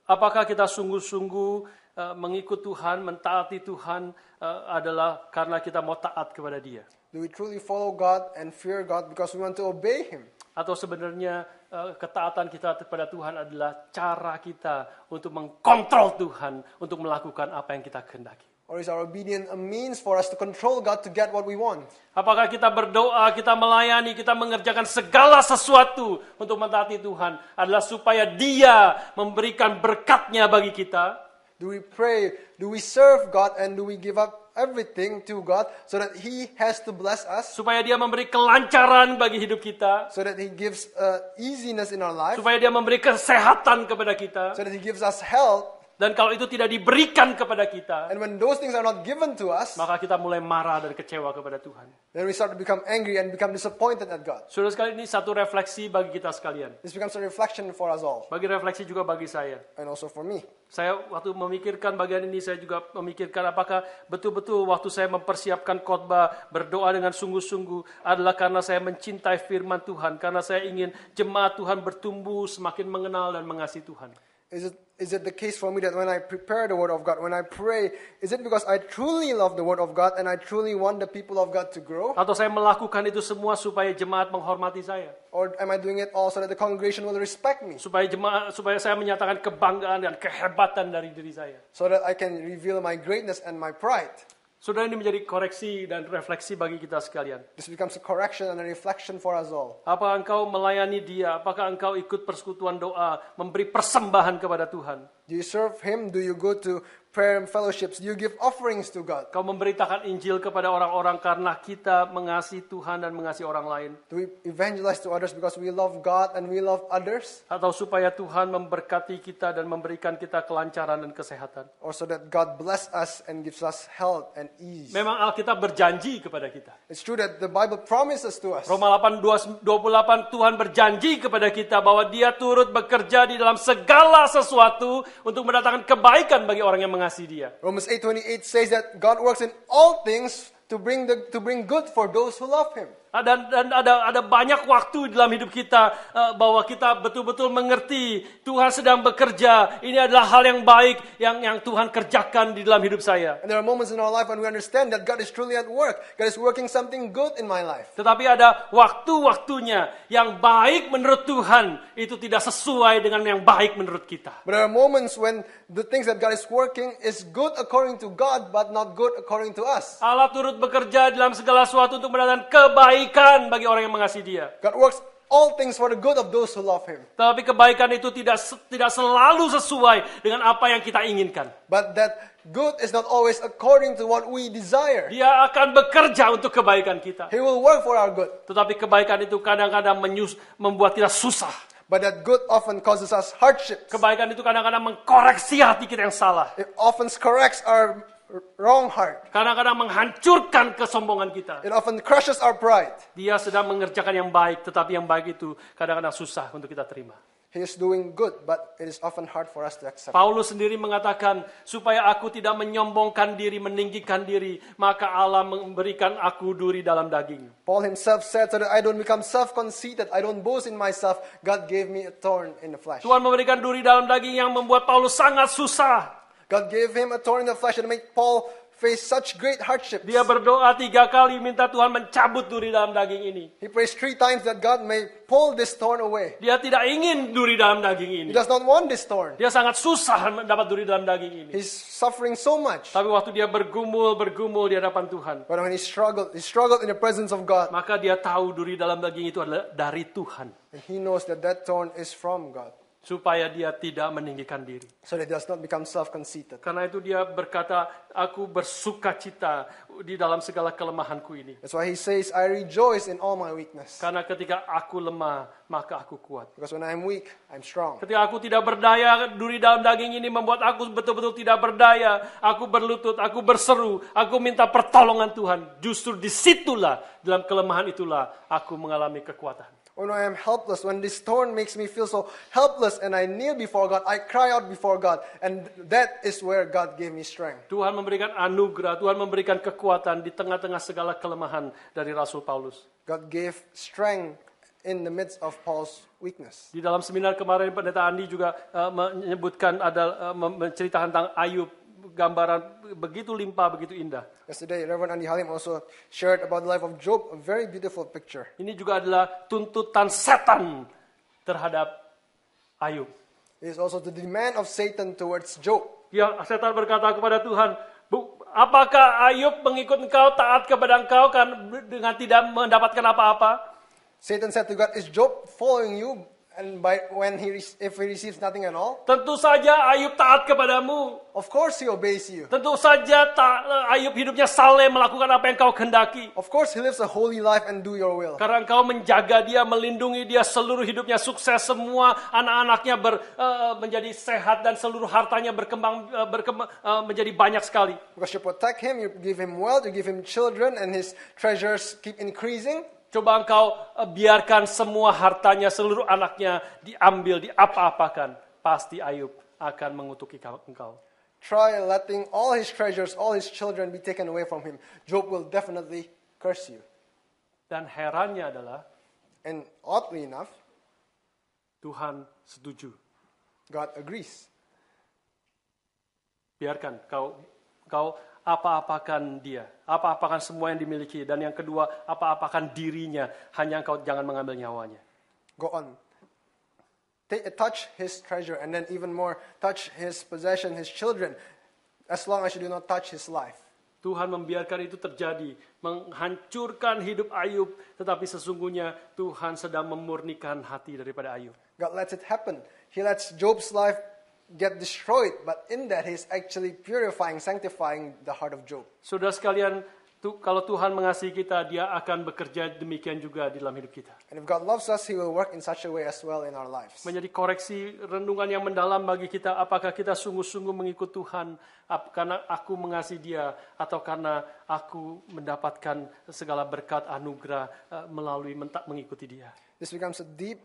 apakah kita sungguh-sungguh eh, mengikut Tuhan, mentaati Tuhan eh, adalah karena kita mau taat kepada Dia, Do we truly follow God and fear God because we want to obey Him? atau sebenarnya eh, ketaatan kita kepada Tuhan adalah cara kita untuk mengkontrol Tuhan untuk melakukan apa yang kita kehendaki? Or is our obedience a means for us to control God to get what we want? Apakah kita berdoa, kita melayani, kita mengerjakan segala sesuatu untuk mentaati Tuhan adalah supaya Dia memberikan berkatnya bagi kita? Do we pray? Do we serve God? And do we give up everything to God so that He has to bless us? Supaya Dia memberi kelancaran bagi hidup kita? So that He gives uh, easiness in our life? Supaya Dia memberi kesehatan kepada kita? So that He gives us health? Dan kalau itu tidak diberikan kepada kita, And when those things are not given to us, maka kita mulai marah dan kecewa kepada Tuhan. then we start to become angry and become disappointed at God. Saudara sekali ini satu refleksi bagi kita sekalian. This becomes a reflection for us all Bagi refleksi juga bagi saya. and also for me. Saya waktu memikirkan bagian ini saya juga memikirkan apakah betul-betul waktu saya mempersiapkan khotbah berdoa dengan sungguh-sungguh adalah karena saya mencintai firman Tuhan karena saya ingin jemaat Tuhan bertumbuh semakin mengenal dan mengasihi Tuhan. Is it, is it the case for me that when I prepare the Word of God, when I pray, is it because I truly love the Word of God and I truly want the people of God to grow? Atau saya melakukan itu semua supaya jemaat menghormati saya, Or am I doing it all so that the congregation will respect me? supaya jemaat supaya saya menyatakan kebanggaan dan kehebatan dari diri saya. So that I can reveal my greatness and my pride? Saudara ini menjadi koreksi dan refleksi bagi kita sekalian. This becomes a correction and a reflection for us all. Apa engkau melayani dia? Apakah engkau ikut persekutuan doa, memberi persembahan kepada Tuhan? Do you serve Him? Do you go to prayer and fellowships? Do you give offerings to God? Kau memberitakan Injil kepada orang-orang karena kita mengasihi Tuhan dan mengasihi orang lain. Do we evangelize to others because we love God and we love others? Atau supaya Tuhan memberkati kita dan memberikan kita kelancaran dan kesehatan. Or so that God bless us and gives us health and ease? Memang Alkitab berjanji kepada kita. It's true that the Bible promises to us. Roma 8, 28 Tuhan berjanji kepada kita bahwa dia turut bekerja di dalam segala sesuatu untuk mendatangkan kebaikan bagi orang yang mengasihi dia. Romans 8:28 says that God works in all things to bring the, to bring good for those who love him. Ah, Dan, dan ada ada banyak waktu dalam hidup kita eh, bahwa kita betul-betul mengerti Tuhan sedang bekerja. Ini adalah hal yang baik yang yang Tuhan kerjakan di dalam hidup saya. And there are moments in our life when we understand that God is truly at work. God is working something good in my life. Tetapi ada waktu-waktunya yang baik menurut Tuhan itu tidak sesuai dengan yang baik menurut kita. But there are moments when the things that God is working is good according to God but not good according to us. Allah turut bekerja dalam segala sesuatu untuk mendatangkan kebaikan bagi orang yang mengasihi Dia. God works all things for the good of those who love him. Tetapi kebaikan itu tidak se- tidak selalu sesuai dengan apa yang kita inginkan. But that good is not always according to what we desire. Dia akan bekerja untuk kebaikan kita. He will work for our good. Tetapi kebaikan itu kadang-kadang menyus- membuat kita susah. But that good often causes us hardships. Kebaikan itu kadang-kadang mengkoreksi hati kita yang salah. It often corrects our wrong heart. Kadang-kadang menghancurkan kesombongan kita. It often crushes our pride. Dia sedang mengerjakan yang baik, tetapi yang baik itu kadang-kadang susah untuk kita terima. He is doing good, but it is often hard for us to accept. Paulus sendiri mengatakan, supaya aku tidak menyombongkan diri, meninggikan diri, maka Allah memberikan aku duri dalam daging. Paul himself said, so that I don't become self-conceited, I don't boast in myself, God gave me a thorn in the flesh. Tuhan memberikan duri dalam daging yang membuat Paulus sangat susah. God gave him a thorn in the flesh and made Paul face such great hardships. Dia berdoa tiga kali minta Tuhan mencabut duri dalam daging ini. He prays three times that God may pull this thorn away. Dia tidak ingin duri dalam daging ini. He does not want this thorn. Dia sangat susah mendapat duri dalam daging ini. He's suffering so much. Tapi waktu dia bergumul, bergumul di hadapan Tuhan, But when he struggled, he struggled in the presence of God. maka dia tahu duri dalam daging itu adalah dari Tuhan. And he knows that that thorn is from God. supaya dia tidak meninggikan diri. so that he does not become self conceited. Karena itu dia berkata, aku bersuka cita di dalam segala kelemahanku ini. That's why he says, I rejoice in all my weakness. Karena ketika aku lemah, maka aku kuat. Because when I'm weak, I'm strong. Ketika aku tidak berdaya, duri dalam daging ini membuat aku betul-betul tidak berdaya. Aku berlutut, aku berseru, aku minta pertolongan Tuhan. Justru disitulah, dalam kelemahan itulah, aku mengalami kekuatan. When I am helpless, when this thorn makes me feel so helpless and I kneel before God, I cry out before God, and that is where God gave me strength. Tuhan memberikan anugerah, Tuhan memberikan kekuatan di tengah-tengah segala kelemahan dari Rasul Paulus. God gave strength in the midst of Paul's weakness. Di dalam seminar kemarin Pendeta Andi juga eh, menyebutkan ada eh, mem- menceritakan tentang Ayub gambaran begitu limpah, begitu indah. Yesterday, Reverend Andy Halim also shared about the life of Job, a very beautiful picture. Ini juga adalah tuntutan setan terhadap Ayub. It is also the demand of Satan towards Job. Dia Ya, setan berkata kepada Tuhan, "Bu, apakah Ayub mengikut engkau taat kepada engkau kan dengan tidak mendapatkan apa-apa? Satan said to God, Is Job following you? And by when he re- if he receives nothing at all, Tentu saja Ayub taat kepadamu. of course he obeys you. Tentu saja ta- Ayub hidupnya saleh melakukan apa yang kau kehendaki. Of course he lives a holy life and do your will. Karena engkau menjaga dia, melindungi dia seluruh hidupnya sukses semua, anak-anaknya ber, eh, menjadi sehat dan seluruh hartanya berkembang eh, berkembang eh, menjadi banyak sekali. Because you protect him, you give him wealth, you give him children, and his treasures keep increasing. Coba engkau eh, biarkan semua hartanya, seluruh anaknya diambil, diapa-apakan. Pasti Ayub akan mengutuki kau- engkau. Try letting all his treasures, all his children be taken away from him. Job will definitely curse you. Dan herannya adalah And oddly enough, Tuhan setuju. God agrees. Biarkan kau kau apa-apakan dia, apa-apakan semua yang dimiliki dan yang kedua apa-apakan dirinya, hanya engkau jangan mengambil nyawanya. Go on. Ta- touch his treasure, and then even more, touch his possession, his children, as long as you do not touch his life. Tuhan membiarkan itu terjadi, menghancurkan hidup Ayub, tetapi sesungguhnya Tuhan sedang memurnikan hati daripada Ayub. God lets it happen. He lets Job's life get destroyed, but in that, he's actually purifying, sanctifying the heart of Job. Saudara sekalian, tu- kalau Tuhan mengasihi kita, Dia akan bekerja demikian juga di dalam hidup kita. And if God loves us, He will work in such a way as well in our lives. Menjadi koreksi renungan yang mendalam bagi kita, apakah kita sungguh-sungguh mengikut Tuhan ap- karena aku mengasihi Dia atau karena aku mendapatkan segala berkat anugerah eh, melalui mentak mengikuti Dia. This becomes a deep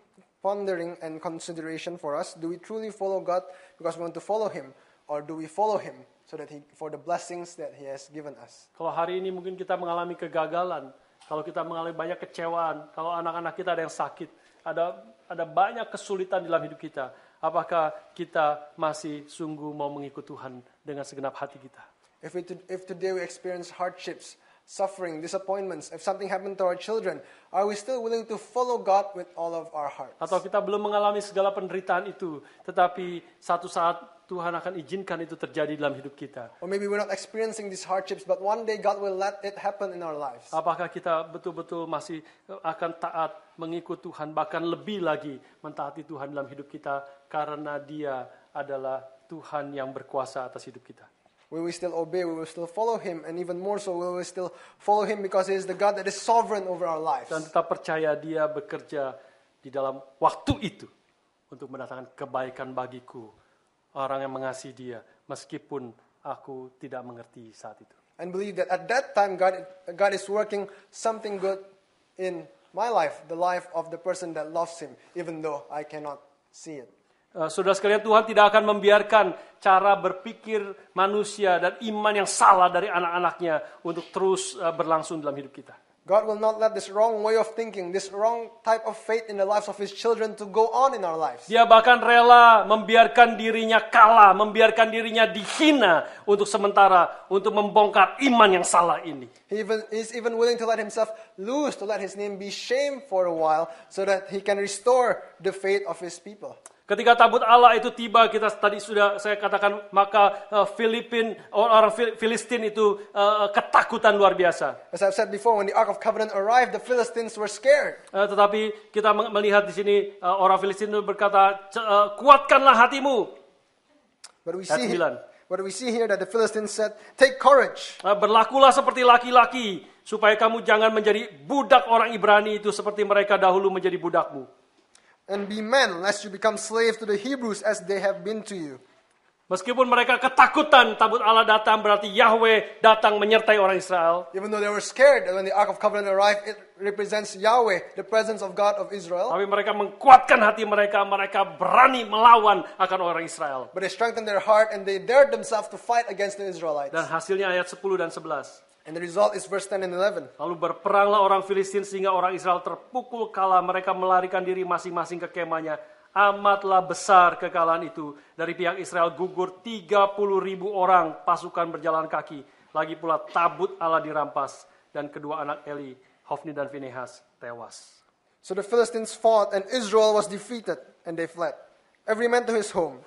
pondering and consideration for us. Do we truly follow God because we want to follow Him, or do we follow Him so that He for the blessings that He has given us? Kalau hari ini mungkin kita mengalami kegagalan, kalau kita mengalami banyak kecewaan, kalau anak-anak kita ada yang sakit, ada ada banyak kesulitan dalam hidup kita. Apakah kita masih sungguh mau mengikut Tuhan dengan segenap hati kita? If, we to, if today we experience hardships, suffering, disappointments, if something happened to our children, are we still willing to follow God with all of our heart? Atau kita belum mengalami segala penderitaan itu, tetapi satu saat Tuhan akan izinkan itu terjadi dalam hidup kita. Or maybe we're not experiencing these hardships, but one day God will let it happen in our lives. Apakah kita betul-betul masih eh, akan taat mengikut Tuhan, bahkan lebih lagi mentaati Tuhan dalam hidup kita karena Dia adalah Tuhan yang berkuasa atas hidup kita. We will still obey, we will still follow him, and even more so, we will still follow him because he is the God that is sovereign over our lives. Dan tetap percaya Dia bekerja di dalam waktu itu untuk mendatangkan kebaikan bagiku, orang yang mengasihi Dia, meskipun aku tidak mengerti saat itu. And believe that at that time, God, God is working something good in my life, the life of the person that loves him, even though I cannot see it. Eh, Saudara sekalian, Tuhan tidak akan membiarkan cara berpikir manusia dan iman yang salah dari anak-anaknya untuk terus eh, berlangsung dalam hidup kita. God will not let this wrong way of thinking, this wrong type of faith in the lives of his children to go on in our lives. Dia bahkan rela membiarkan dirinya kalah, membiarkan dirinya dihina untuk sementara untuk membongkar iman yang salah ini. He even, is even willing to let himself lose, to let his name be shamed for a while, so that he can restore the faith of his people. Ketika tabut Allah itu tiba, kita tadi sudah saya katakan maka eh, Filipin orang Fil- Filistin itu eh, ketakutan luar biasa. As I've said before, when the Ark of Covenant arrived, the Philistines were scared. Eh, tetapi kita meng- melihat di sini eh, orang Filistin itu berkata, "C- eh, kuatkanlah hatimu, But we That's see Milan. But we see here that the Philistines said, Take courage. Eh, berlakulah seperti laki-laki, supaya kamu jangan menjadi budak orang Ibrani itu seperti mereka dahulu menjadi budakmu. And be men, lest you become slaves to the Hebrews as they have been to you. Meskipun mereka ketakutan tabut Allah datang, berarti Yahweh datang menyertai orang Israel. Even though they were scared that when the Ark of Covenant arrived, it represents Yahweh, the presence of God of Israel. Tapi mereka mengkuatkan hati mereka, mereka berani melawan akan orang Israel. But they strengthened their heart and they dared themselves to fight against the Israelites. Dan hasilnya ayat 10 dan 11. And the result is verse 10 and 11. Lalu berperanglah orang Filistin sehingga orang Israel terpukul kala mereka melarikan diri masing-masing ke kemahnya. Amatlah besar kekalahan itu. Dari pihak Israel gugur 30 ribu orang pasukan berjalan kaki. Lagi pula tabut Allah dirampas. Dan kedua anak Eli, Hofni dan Finehas tewas. So the Philistines fought, and Israel was defeated, and they fled, every man to his home.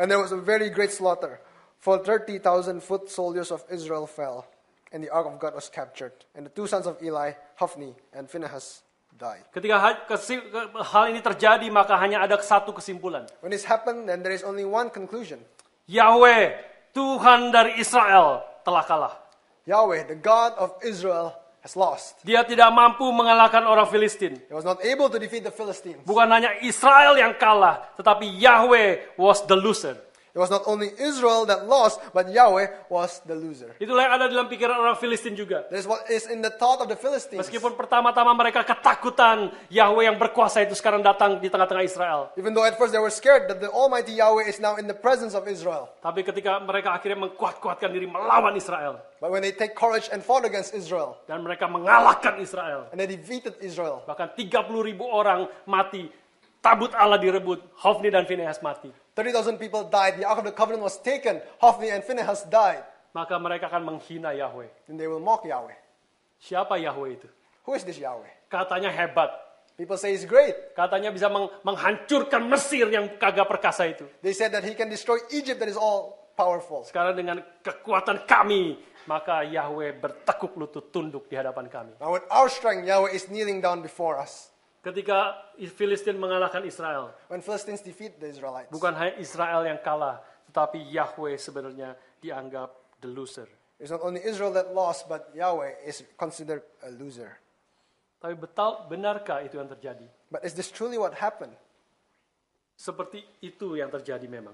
And there was a very great slaughter, for 30,000 foot soldiers of Israel fell, and the ark of God was captured. And the two sons of Eli, Hophni and Phinehas, died. Ketika ha- kesi- ke- hal ini terjadi maka hanya ada satu kesimpulan. When this happened, then there is only one conclusion Yahweh, Tuhan dari Israel telah kalah. Yahweh, the God of Israel, has lost. Dia tidak mampu mengalahkan orang Filistin. He was not able to defeat the Philistines. Bukan hanya Israel yang kalah, tetapi Yahweh was the loser. It was not only Israel that lost, but Yahweh was the loser. Itulah yang ada dalam pikiran orang Filistin juga. That is what is in the thought of the Philistines. Meskipun pertama-tama mereka ketakutan, Yahweh yang berkuasa itu sekarang datang di tengah-tengah Israel. Even though at first they were scared that the Almighty Yahweh is now in the presence of Israel. Tapi ketika mereka akhirnya mengkuat-kuatkan diri melawan Israel But when they take courage and fought against Israel, dan mereka mengalahkan Israel, and they defeated Israel, bahkan 30 ribu orang mati, tabut Allah direbut, Hofni dan Finehas mati. 30,000 people died, the Ark of the Covenant was taken, Hophni and Phinehas died, Maka mereka akan menghina Yahweh. then they will mock Yahweh. Siapa Yahweh itu? Who is this Yahweh? Katanya hebat, People say he's great. katanya bisa meng- menghancurkan Mesir yang kagak perkasa itu. They said that he can destroy Egypt that is all powerful. Sekarang dengan kekuatan kami, maka Yahweh bertekuk lutut tunduk di hadapan kami. Now with our strength, Yahweh is kneeling down before us. Ketika Filistin mengalahkan Israel, When Philistines defeat the Israelites, bukan hanya Israel yang kalah, tetapi Yahweh sebenarnya dianggap the loser. it's not only Israel that lost, but Yahweh is considered a loser. Tapi betul benarkah itu yang terjadi? But is this truly what happened? Seperti itu yang terjadi memang.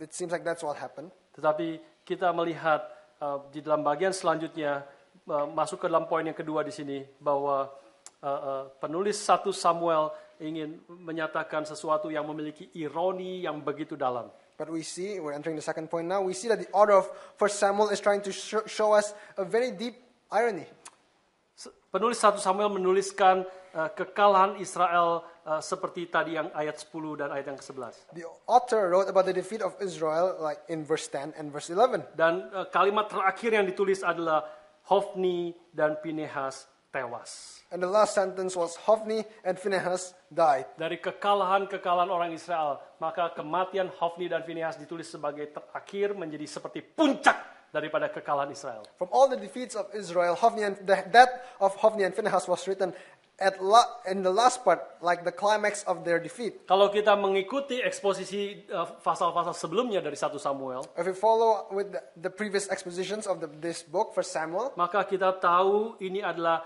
It seems like that's what happened. Tetapi kita melihat uh, di dalam bagian selanjutnya uh, masuk ke dalam poin yang kedua di sini bahwa uh, uh, penulis 1 Samuel ingin menyatakan sesuatu yang memiliki ironi yang begitu dalam. But we see, we're entering the second point now, we see that the order of First Samuel is trying to sh- show us a very deep irony. Se- Penulis 1 Samuel menuliskan uh, kekalahan Israel uh, seperti tadi yang ayat 10 dan ayat yang ke-11. The author wrote about the defeat of Israel like in verse 10 and verse 11. Dan uh, kalimat terakhir yang ditulis adalah Hofni dan Pinehas tewas. And the last sentence was Hophni and Phinehas died. dari kekalahan-kekalahan orang Israel, maka kematian Hofni dan Finehas ditulis sebagai terakhir menjadi seperti puncak daripada kekalahan Israel. From all the defeats of Israel, Hophni and the death of Hophni and Phinehas was written at la- in the last part like the climax of their defeat. Kalau kita mengikuti eksposisi eh, pasal-pasal sebelumnya dari 1 Samuel, If we follow with the, the previous expositions of the, this book, First Samuel, maka kita tahu ini adalah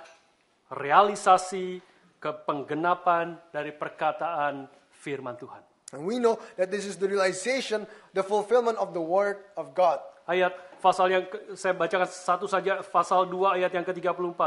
realisasi kepenggenapan dari perkataan firman Tuhan. and we know that this is the realization, the fulfillment of the word of God. Ayat pasal yang ke- saya bacakan satu saja pasal 2 ayat yang ke-34.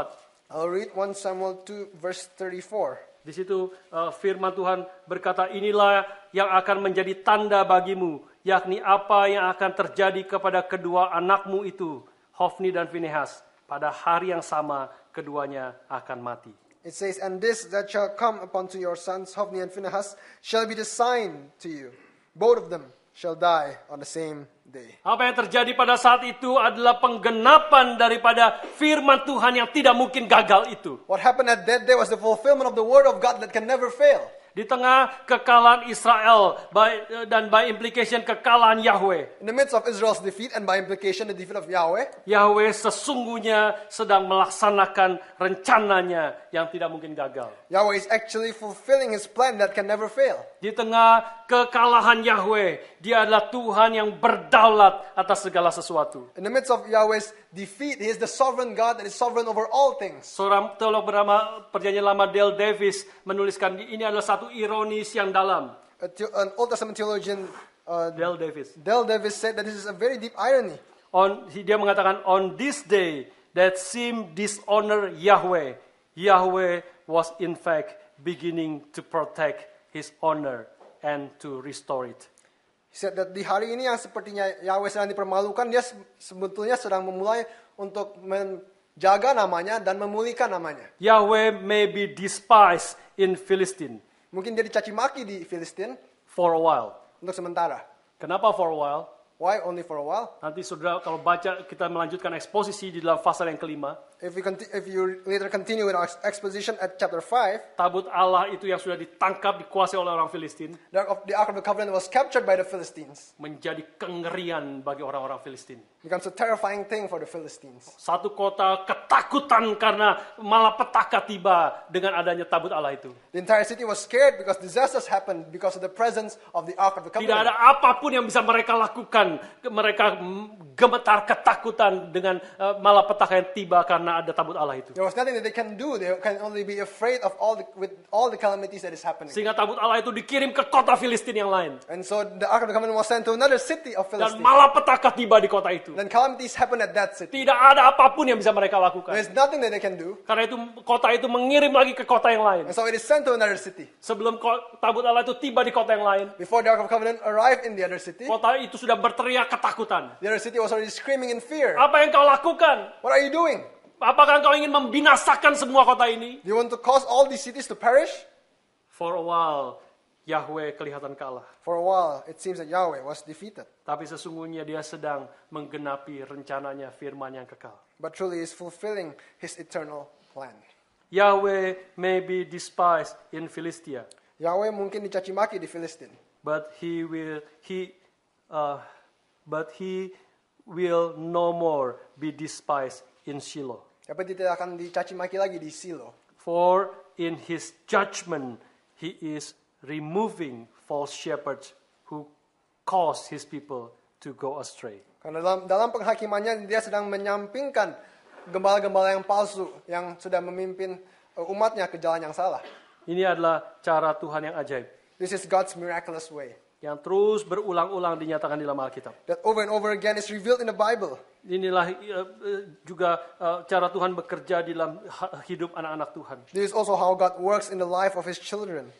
I'll read 1 Samuel 2, verse 34. Di situ eh, firman Tuhan berkata, "Inilah yang akan menjadi tanda bagimu, yakni apa yang akan terjadi kepada kedua anakmu itu, Hofni dan Finehas. Pada hari yang sama keduanya akan mati." It says, And this that shall come upon to your sons, Hophni and Phinehas, shall be the sign to you. Both of them shall die on the same day. Apa yang terjadi pada saat itu adalah penggenapan daripada firman Tuhan yang tidak mungkin gagal itu. What happened at that day was the fulfillment of the word of God that can never fail. Di tengah kekalahan Israel by- dan by implication kekalahan Yahweh. In the midst of Israel's defeat and by implication the defeat of Yahweh, Yahweh sesungguhnya sedang melaksanakan rencananya yang tidak mungkin gagal. Yahweh is actually fulfilling his plan that can never fail. Di tengah kekalahan Yahweh, dia adalah Tuhan yang berdaulat atas segala sesuatu. In the midst of Yahweh's defeat, he is the sovereign God that is sovereign over all things. Seorang teolog bernama Perjanjian Lama Dale Davis menuliskan ini adalah satu ironis yang dalam. A the- an Old Testament theologian, uh, Dale Davis. Del Davis, said that this is a very deep irony. On, dia mengatakan, On this day that seemed dishonor Yahweh, Yahweh was in fact beginning to protect his honor and to restore it. He said that di hari ini yang sepertinya Yahweh sedang dipermalukan, dia se- sebetulnya sedang memulai untuk menjaga namanya dan memulihkan namanya. Yahweh may be despised in Philistine Mungkin dia dicaci maki di Filistin for a while. untuk sementara. Kenapa for a while? Why only for a while? Nanti saudara kalau baca kita melanjutkan eksposisi di dalam pasal yang kelima. If you, conti- if you later continue with our ex- exposition at chapter 5, Tabut Allah itu yang sudah ditangkap, dikuasai oleh orang Filistin. the Ark of, the Ark of the Covenant was captured by the Philistines. Menjadi kengerian bagi orang-orang Filistin. Becomes a terrifying thing for the Philistines. Satu kota ketakutan karena malapetaka tiba dengan adanya tabut Allah itu. The entire city was scared because disasters happened because of the presence of the Ark of the Tidak Covenant. ada apapun yang bisa mereka lakukan. Mereka gemetar ketakutan dengan eh, malapetaka yang tiba karena ada tabut Allah itu. There was nothing that they can do. They can only be afraid of all the, with all the calamities that is happening. Sehingga tabut Allah itu dikirim ke kota Filistin yang lain. And so the Ark of the Covenant was sent to another city of Dan Philistine. malapetaka tiba di kota itu. Then calamities happened at that city. Tidak ada apapun yang bisa mereka lakukan. There's nothing that they can do. Karena itu kota itu mengirim lagi ke kota yang lain. And so it is sent to another city. Sebelum ko- tabut Allah itu tiba di kota yang lain, Before the Ark of the Covenant arrived in the other city, kota itu sudah berteriak ketakutan. the other city was already screaming in fear. Apa yang kau lakukan? What are you doing? Apakah engkau ingin membinasakan semua kota ini? Do you want to cause all these cities to perish? For a while, Yahweh kelihatan kalah. For a while, it seems that Yahweh was defeated, Tapi sesungguhnya dia sedang menggenapi rencananya firman yang kekal. but truly is fulfilling his eternal plan. Yahweh may be despised in Philistia, Yahweh mungkin dicaci maki di Filistin, but he will he uh, but he will no more be despised in Shiloh tapi tidak akan dicaci maki lagi di Silo. for in his judgment he is removing false shepherds who cause his people to go astray Karena dalam, dalam penghakimannya dia sedang menyampingkan gembala-gembala yang palsu yang sudah memimpin uh, umatnya ke jalan yang salah. ini adalah cara Tuhan yang ajaib This is God's miraculous way yang terus berulang-ulang dinyatakan di dalam Alkitab that over and over again is revealed in the Bible. inilah eh, eh, juga eh, cara Tuhan bekerja di dalam ha- hidup anak-anak Tuhan This is also how God works in the life of his children.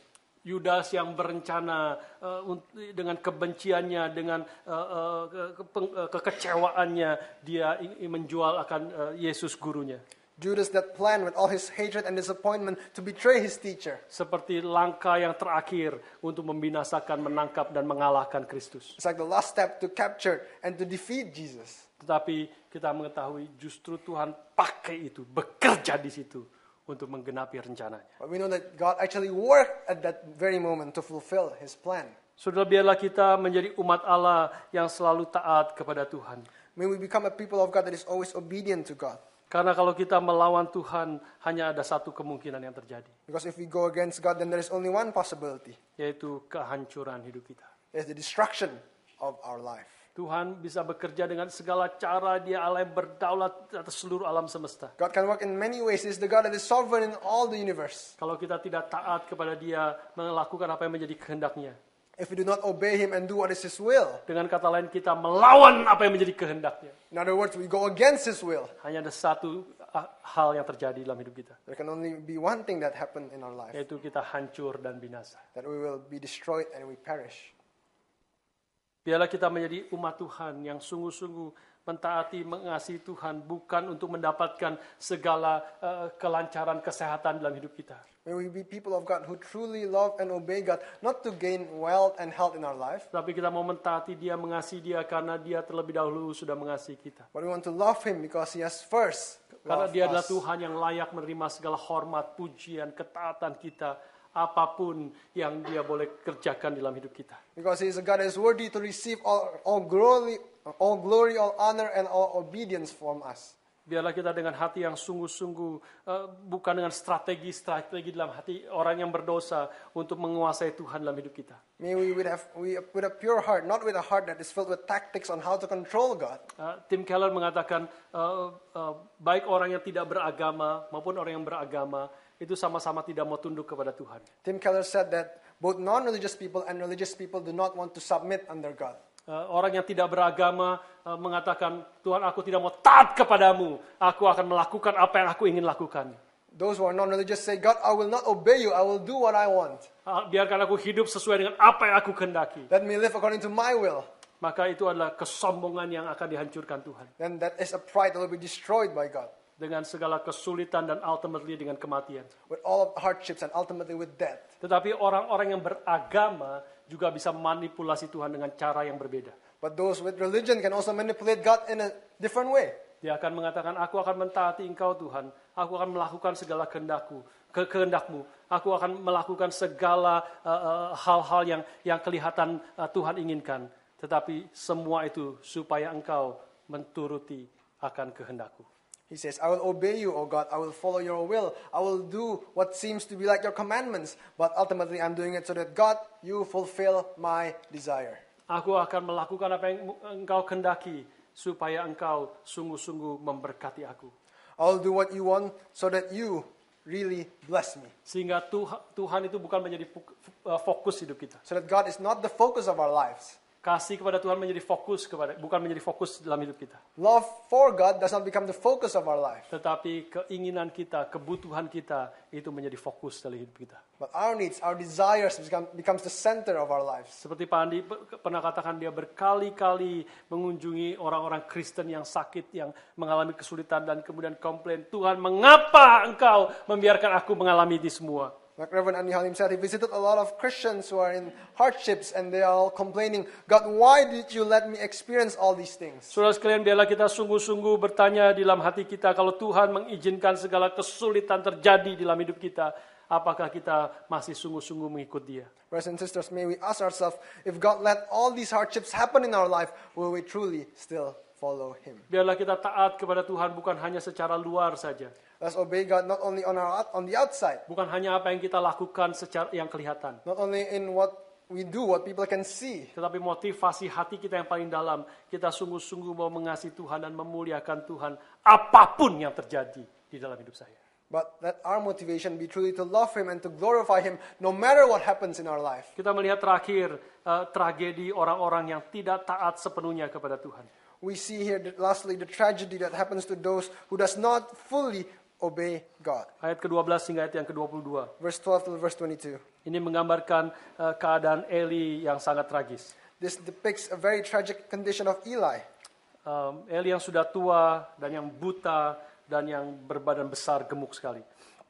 Yudas yang berencana eh, un- dengan kebenciannya, dengan eh, eh, ke- peng- eh, kekecewaannya, dia ingin menjual akan eh, Yesus gurunya. Judas that planned with all his hatred and disappointment to betray his teacher. Seperti langkah yang terakhir untuk membinasakan, menangkap, dan mengalahkan Kristus. It's like the last step to capture and to defeat Jesus. Tetapi kita mengetahui justru Tuhan pakai itu, bekerja di situ untuk menggenapi rencananya. But we know that God actually worked at that very moment to fulfill his plan. Saudara biarlah kita menjadi umat Allah yang selalu taat kepada Tuhan. May we become a people of God that is always obedient to God. Karena kalau kita melawan Tuhan, hanya ada satu kemungkinan yang terjadi. Because if we go against God, then there is only one possibility yaitu kehancuran hidup kita. there's the destruction of our life. Tuhan bisa bekerja dengan segala cara dia Allah yang berdaulat atas seluruh alam semesta. God can work in many ways. He's the God that is sovereign in all the universe. Kalau kita tidak taat kepada dia, melakukan apa yang menjadi kehendaknya. If we do not obey him and do what is his will, Dengan kata lain kita melawan apa yang menjadi kehendaknya. in other words, we go against his will, Hanya ada satu ah, hal yang terjadi dalam hidup kita, there can only be one thing that happened in our life yaitu kita hancur dan binasa. that we will be destroyed and we perish. Biarlah kita menjadi umat Tuhan yang sungguh-sungguh mentaati, mengasihi Tuhan, bukan untuk mendapatkan segala eh, kelancaran kesehatan dalam hidup kita. May we be people of God who truly love and obey God, not to gain wealth and health in our life, Tapi kita mau mentaati dia, mengasihi dia karena dia terlebih dahulu sudah mengasihi kita. but we want to love Him because He has first Karena loved dia adalah us. Tuhan yang layak menerima segala hormat, pujian, ketaatan kita apapun yang dia boleh kerjakan dalam hidup kita. Because he is a God that is worthy to receive all, all glory, all glory, all honor, and all obedience from us. Biarlah kita dengan hati yang sungguh-sungguh, eh, bukan dengan strategi-strategi dalam hati orang yang berdosa untuk menguasai Tuhan dalam hidup kita. May we would have we with a pure heart, not with a heart that is filled with tactics on how to control God. Eh, Tim Keller mengatakan, eh, eh, baik orang yang tidak beragama maupun orang yang beragama, itu sama-sama tidak mau tunduk kepada Tuhan. Tim Keller said that both non-religious people and religious people do not want to submit under God. Eh, Orang yang tidak beragama eh, mengatakan, Tuhan aku tidak mau taat kepadamu, aku akan melakukan apa yang aku ingin lakukan. Those who are non-religious say, God, I will not obey you. I will do what I want. Ah, Biarkan aku hidup sesuai dengan apa yang aku kehendaki. Let me live according to my will. Maka itu adalah kesombongan yang akan dihancurkan Tuhan. Then that is a pride that will be destroyed by God Dengan segala kesulitan dan ultimately dengan kematian. with all of the hardships and ultimately with death. Tetapi orang-orang yang beragama juga bisa manipulasi Tuhan dengan cara yang berbeda. But those with religion can also manipulate God in a different way. Dia akan mengatakan, aku akan mentaati engkau Tuhan. Aku akan melakukan segala kehendakku, ke kehendakmu. Aku akan melakukan segala eh, eh, hal-hal yang yang kelihatan eh, Tuhan inginkan. Tetapi semua itu supaya engkau menturuti akan kehendakku. He says, I will obey you, O God. I will follow your will. I will do what seems to be like your commandments. But ultimately, I'm doing it so that God, you fulfill my desire. Aku akan melakukan apa yang engkau kendaki supaya engkau sungguh-sungguh memberkati aku. I'll do what you want so that you really bless me. Sehingga Tuha- Tuhan itu bukan menjadi fuk- eh, fokus hidup kita. So that God is not the focus of our lives. Kasih kepada Tuhan menjadi fokus kepada bukan menjadi fokus dalam hidup kita. Love for God does not become the focus of our life. Tetapi keinginan kita, kebutuhan kita itu menjadi fokus dalam hidup kita. But our needs, our desires become, becomes the center of our lives. Seperti Pak Andi pe- pernah katakan dia berkali-kali mengunjungi orang-orang Kristen yang sakit, yang mengalami kesulitan dan kemudian komplain, Tuhan mengapa engkau membiarkan aku mengalami ini semua? Like Reverend Andy Halim said, he visited a lot of Christians who are in hardships and they are all complaining, God, why did you let me experience all these things? Saudara sekalian, biarlah kita sungguh-sungguh bertanya di dalam hati kita kalau Tuhan mengizinkan segala kesulitan terjadi di dalam hidup kita, apakah kita masih sungguh-sungguh mengikut Dia? Brothers and sisters, may we ask ourselves, if God let all these hardships happen in our life, will we truly still follow Him? Biarlah kita taat kepada Tuhan bukan hanya secara luar saja, Let's obey God not only on, our, on the outside, bukan hanya apa yang kita lakukan secara yang kelihatan, not only in what we do, what people can see, tetapi motivasi hati kita yang paling dalam, kita sungguh-sungguh mau mengasihi Tuhan dan memuliakan Tuhan apapun yang terjadi di dalam hidup saya. but let our motivation be truly to love Him and to glorify Him no matter what happens in our life. Kita melihat terakhir eh, tragedi orang-orang yang tidak taat sepenuhnya kepada Tuhan. We see here, that lastly, the tragedy that happens to those who does not fully obey God. Ayat ke-12 hingga ayat yang ke-22. Verse 12 to verse 22. Ini menggambarkan eh, keadaan Eli yang sangat tragis. This depicts a very tragic condition of Eli, Um, Eli yang sudah tua dan yang buta dan yang berbadan besar gemuk sekali.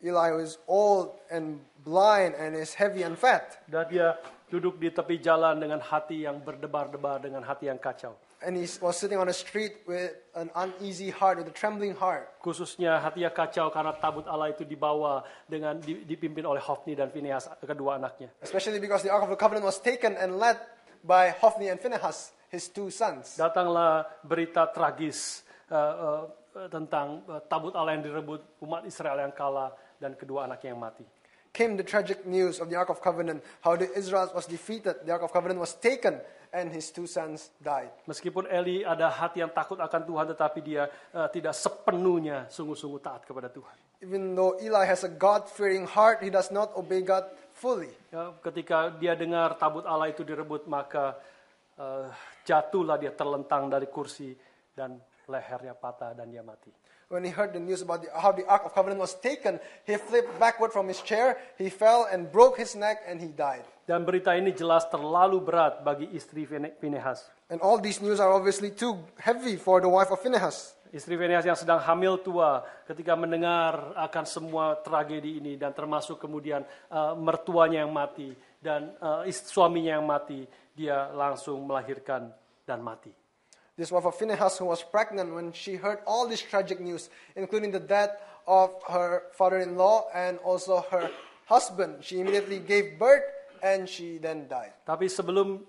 Eli who is old and blind and is heavy and fat. Dan dia duduk di tepi jalan dengan hati yang berdebar-debar dengan hati yang kacau. And he was sitting on a street with an uneasy heart, with a trembling heart. Khususnya hatinya kacau karena tabut Allah itu dibawa dengan di- dipimpin oleh Hofni dan Phineas kedua anaknya. Especially because the Ark of the Covenant was taken and led by Hophni and Phinehas, his two sons. Datanglah berita tragis eh, eh, tentang eh, tabut Allah yang direbut, umat Israel yang kalah dan kedua anaknya yang mati. Came the tragic news of the Ark of Covenant, how the Israel was defeated, the Ark of Covenant was taken, and his two sons died. Meskipun Eli ada hati yang takut akan Tuhan, tetapi dia eh, tidak sepenuhnya sungguh-sungguh taat kepada Tuhan. Even though Eli has a God fearing heart, he does not obey God fully. Ya, ketika dia dengar tabut Allah itu direbut, maka eh, jatuhlah dia terlentang dari kursi dan lehernya patah dan dia mati. When he heard the news about the, how the Ark of Covenant was taken, he flipped backward from his chair, he fell and broke his neck, and he died. Dan berita ini jelas terlalu berat bagi istri Fine- Finehas. And all these news are obviously too heavy for the wife of Phinehas. Istri Finehas yang sedang hamil tua ketika mendengar akan semua tragedi ini dan termasuk kemudian eh, mertuanya yang mati dan eh, is- suaminya yang mati, dia langsung melahirkan dan mati. This wife of Phinehas, who was pregnant when she heard all this tragic news, including the death of her father in law and also her husband. She immediately gave birth and she then died. Tapi sebelum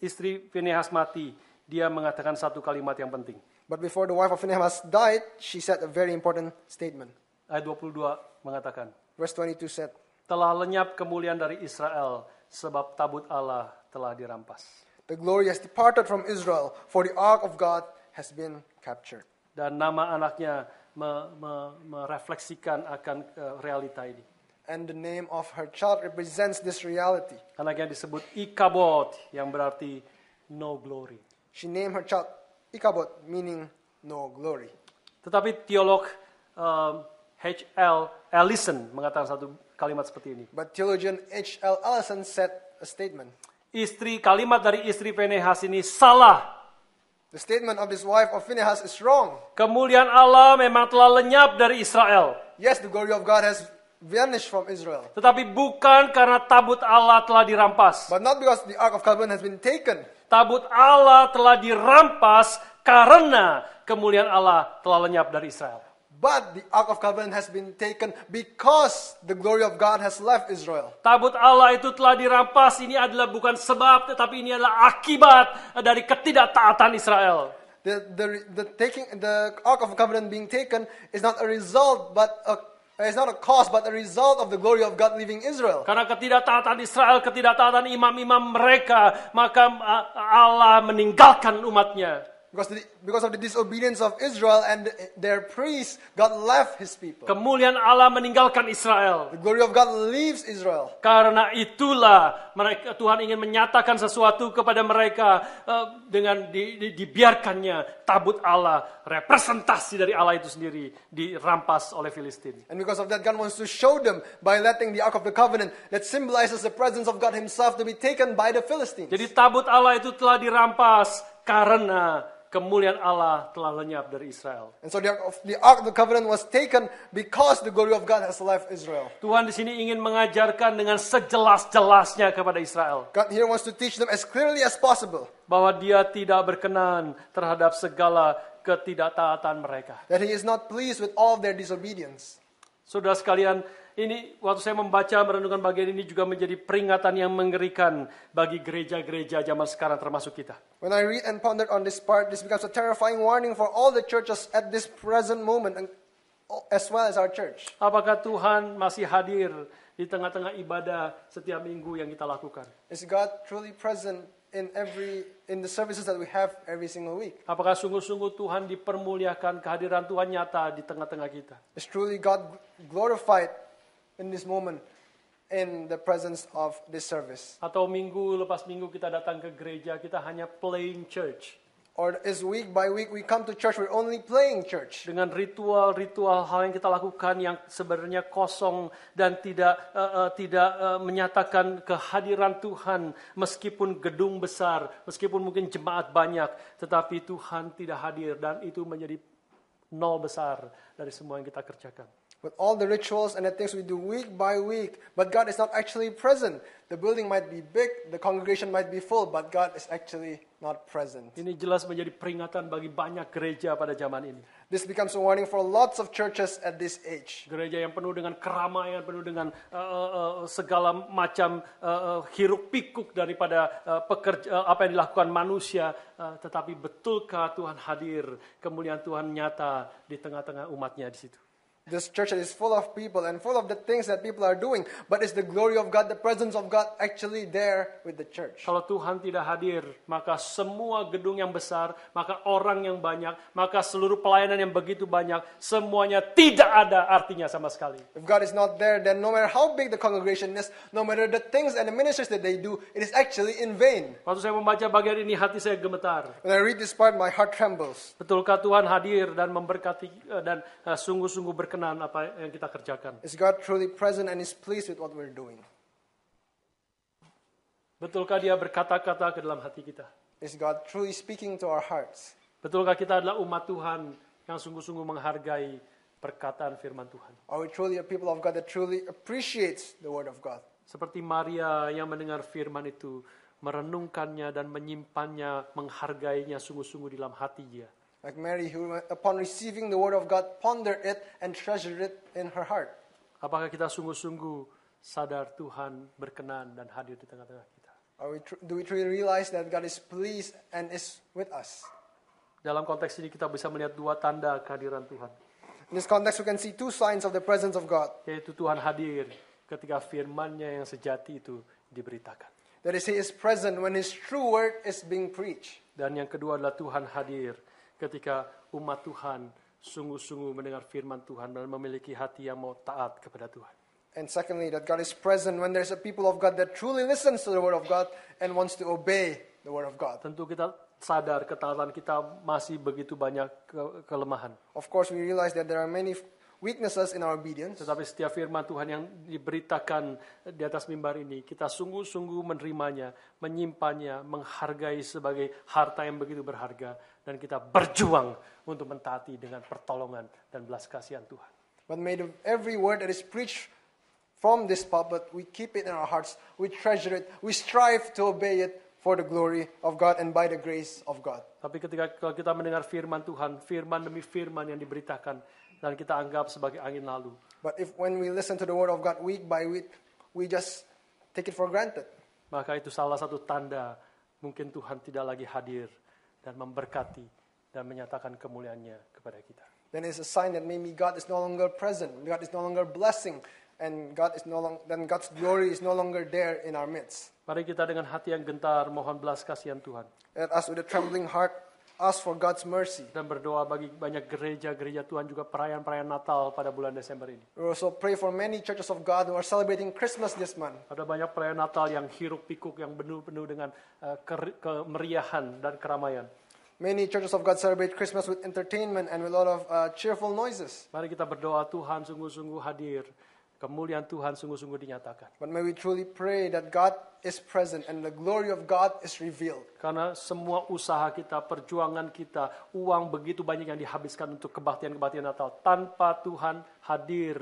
istri Pinehas mati, dia mengatakan satu kalimat yang penting. But before the wife of Phinehas died, she said a very important statement. Ayat 22 mengatakan, Verse 22 said, Telah lenyap kemuliaan dari Israel, sebab tabut Allah telah dirampas. The glory has departed from Israel, for the ark of God has been captured. Dan nama anaknya me- me- merefleksikan akan eh, realita ini. And the name of her child represents this reality. Anak yang disebut Ikabod, yang berarti no glory. She named her child Ichabod, meaning no glory. Tetapi teolog eh, H.L. Ellison mengatakan satu kalimat seperti ini. But theologian H.L. Ellison said a statement. Istri kalimat dari istri Penehas ini salah. The statement of this wife of Phinehas is wrong. Kemuliaan Allah memang telah lenyap dari Israel. Yes, the glory of God has vanished from Israel, Tetapi bukan karena tabut Allah telah dirampas. but not because the ark of covenant has been taken, Tabut Allah telah dirampas karena kemuliaan Allah telah lenyap dari Israel. but the ark of covenant has been taken because the glory of God has left Israel. Tabut Allah itu telah dirampas. Ini adalah bukan sebab, tetapi ini adalah akibat dari ketidaktaatan Israel. The, the, the, taking, the ark of covenant being taken is not a result, but a, it's not a cause, but a result of the glory of God leaving Israel. Karena ketidaktaatan Israel, ketidaktaatan imam-imam mereka, maka uh, Allah meninggalkan umatnya. Because, the, because of the disobedience of Israel and their priests, God left his people. Kemuliaan Allah meninggalkan Israel. The glory of God leaves Israel. Karena itulah mereka, Tuhan ingin menyatakan sesuatu kepada mereka eh, dengan di- di- dibiarkannya tabut Allah, representasi dari Allah itu sendiri dirampas oleh Filistin. And because of that, God wants to show them by letting the Ark of the Covenant, that symbolizes the presence of God Himself, to be taken by the Philistines. Jadi tabut Allah itu telah dirampas karena kemuliaan Allah telah lenyap dari Israel. And so the Ark, of, the Ark of the Covenant was taken because the glory of God has left Israel. Tuhan di sini ingin mengajarkan dengan sejelas-jelasnya kepada Israel God here wants to teach them as clearly as possible bahwa Dia tidak berkenan terhadap segala ketidaktaatan mereka. that He is not pleased with all of their disobedience. Saudara sekalian, ini waktu saya membaca merenungkan bagian ini juga menjadi peringatan yang mengerikan bagi gereja-gereja zaman sekarang termasuk kita. When I read and pondered on this part, this becomes a terrifying warning for all the churches at this present moment, and as well as our church. Apakah Tuhan masih hadir di tengah-tengah ibadah setiap minggu yang kita lakukan? Is God truly present in every in the services that we have every single week? Apakah sungguh-sungguh Tuhan dipermuliakan kehadiran Tuhan nyata di tengah-tengah kita? Is truly God glorified in this moment in the presence of this service? Atau minggu lepas minggu kita datang ke gereja, kita hanya playing church. Or is week by week we come to church, we're only playing church? Dengan ritual-ritual hal yang kita lakukan yang sebenarnya kosong dan tidak eh, eh, tidak eh, menyatakan kehadiran Tuhan meskipun gedung besar, meskipun mungkin jemaat banyak, tetapi Tuhan tidak hadir dan itu menjadi nol besar dari semua yang kita kerjakan. With all the rituals and the things we do week by week, but God is not actually present. The building might be big, the congregation might be full, but God is actually not present. Ini jelas menjadi peringatan bagi banyak gereja pada zaman ini. This becomes a warning for lots of churches at this age. Gereja yang penuh dengan keramaian, penuh dengan eh, eh, eh, segala macam eh, hiruk pikuk daripada eh, pekerja eh, apa yang dilakukan manusia, Eh, tetapi betulkah Tuhan hadir, kemuliaan Tuhan nyata di tengah-tengah umatnya di situ. This church that is full of people and full of the things that people are doing, but is the glory of God, the presence of God actually there with the church? Kalau Tuhan tidak hadir, maka semua gedung yang besar, maka orang yang banyak, maka seluruh pelayanan yang begitu banyak, semuanya tidak ada artinya sama sekali. If God is not there, then no matter how big the congregation is, no matter the things and the ministries that they do, it is actually in vain. Waktu saya membaca bagian ini, hati saya gemetar. When I read this part, my heart trembles. Betulkah Tuhan hadir dan memberkati eh, dan eh, sungguh-sungguh berkenan apa yang kita kerjakan? Is God truly present and is pleased with what we're doing? Betulkah Dia berkata-kata ke dalam hati kita? Is God truly speaking to our hearts? Betulkah kita adalah umat Tuhan yang sungguh-sungguh menghargai perkataan firman Tuhan? Are we truly a people of God that truly appreciates the Word of God? Seperti Maria yang mendengar firman itu, merenungkannya dan menyimpannya, menghargainya sungguh-sungguh dalam hati dia. Like Mary, who, upon receiving the Word of God, pondered it and treasured it in her heart. Apakah kita sungguh-sungguh sadar Tuhan berkenan dan hadir di tengah-tengah kita. Are we tr- do we truly realize that God is pleased and is with us? Dalam konteks ini kita bisa melihat dua tanda kehadiran Tuhan, In this context, we can see two signs of the presence of God. yaitu Tuhan hadir ketika firman-Nya yang sejati itu diberitakan. That is, He is present when His true word is being preached. Dan yang kedua adalah Tuhan hadir ketika umat Tuhan sungguh-sungguh mendengar firman Tuhan dan memiliki hati yang mau taat kepada Tuhan. And secondly, that God is present when there's a people of God that truly listens to the word of God and wants to obey the word of God. Tentu kita sadar ketaatan kita masih begitu banyak ke- kelemahan. Of course, we realize that there are many weaknesses in our obedience, Tetapi setiap firman Tuhan yang diberitakan di atas mimbar ini, kita sungguh-sungguh menerimanya, menyimpannya, menghargai sebagai harta yang begitu berharga, dan kita berjuang untuk mentaati dengan pertolongan dan belas kasihan Tuhan. but may the, every word that is preached from this pulpit, we keep it in our hearts, we treasure it, we strive to obey it for the glory of God and by the grace of God. Tapi ketika kalau kita mendengar firman Tuhan, firman demi firman yang diberitakan, dan kita anggap sebagai angin lalu, But if when we listen to the word of God week by week, we just take it for granted. maka itu salah satu tanda mungkin Tuhan tidak lagi hadir dan memberkati dan menyatakan kemuliaannya kepada kita. Then it's a sign that maybe God is no longer present, God is no longer blessing, and God is no long, then God's glory is no longer there in our midst. Mari kita dengan hati yang gentar mohon belas kasihan Tuhan Let us with a trembling heart ask for God's mercy. dan berdoa bagi banyak gereja-gereja Tuhan juga perayaan-peraian Natal pada bulan Desember ini. We also pray for many churches of God who are celebrating Christmas this month. Ada banyak perayaan Natal yang hiruk pikuk yang penuh-penuh dengan eh, ker- kemeriahan dan keramaian. Many churches of God celebrate Christmas with entertainment and with a lot of uh, cheerful noises. Mari kita berdoa Tuhan sungguh-sungguh hadir. Kemuliaan Tuhan sungguh-sungguh dinyatakan. But may we truly pray that God is present and the glory of God is revealed. Karena semua usaha kita, perjuangan kita, uang begitu banyak yang dihabiskan untuk kebaktian-kebaktian Natal. Tanpa Tuhan hadir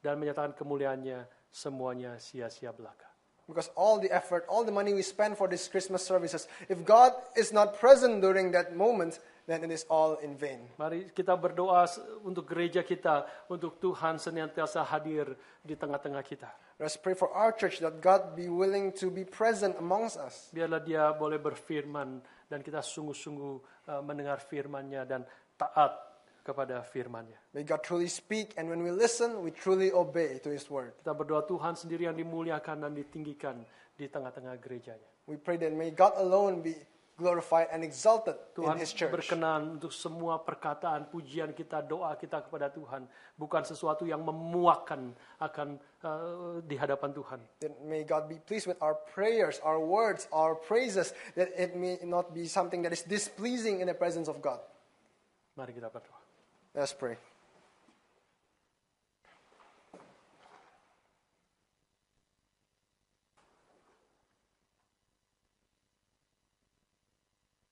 dan menyatakan kemuliaannya, semuanya sia-sia belaka. Because all the effort, all the money we spend for these Christmas services, if God is not present during that moment, then it is all in vain. Mari kita berdoa s- untuk gereja kita, untuk Tuhan senantiasa hadir di tengah-tengah kita. Let us pray for our church that God be willing to be present amongst us, Biarlah dia boleh berfirman dan kita sungguh-sungguh eh, mendengar firman-Nya dan taat kepada firman-Nya. May God truly speak, and when we listen, we truly obey to His word. Kita berdoa Tuhan sendiri yang dimuliakan dan ditinggikan di tengah-tengah gerejanya. We pray that may God alone be glorified and exalted Tuhan in His church. berkenan untuk semua perkataan, pujian kita, doa kita kepada Tuhan. Bukan sesuatu yang memuakan akan eh, di hadapan Tuhan. That may God be pleased with our prayers, our words, our praises, that it may not be something that is displeasing in the presence of God. Mari kita berdoa. Let us pray.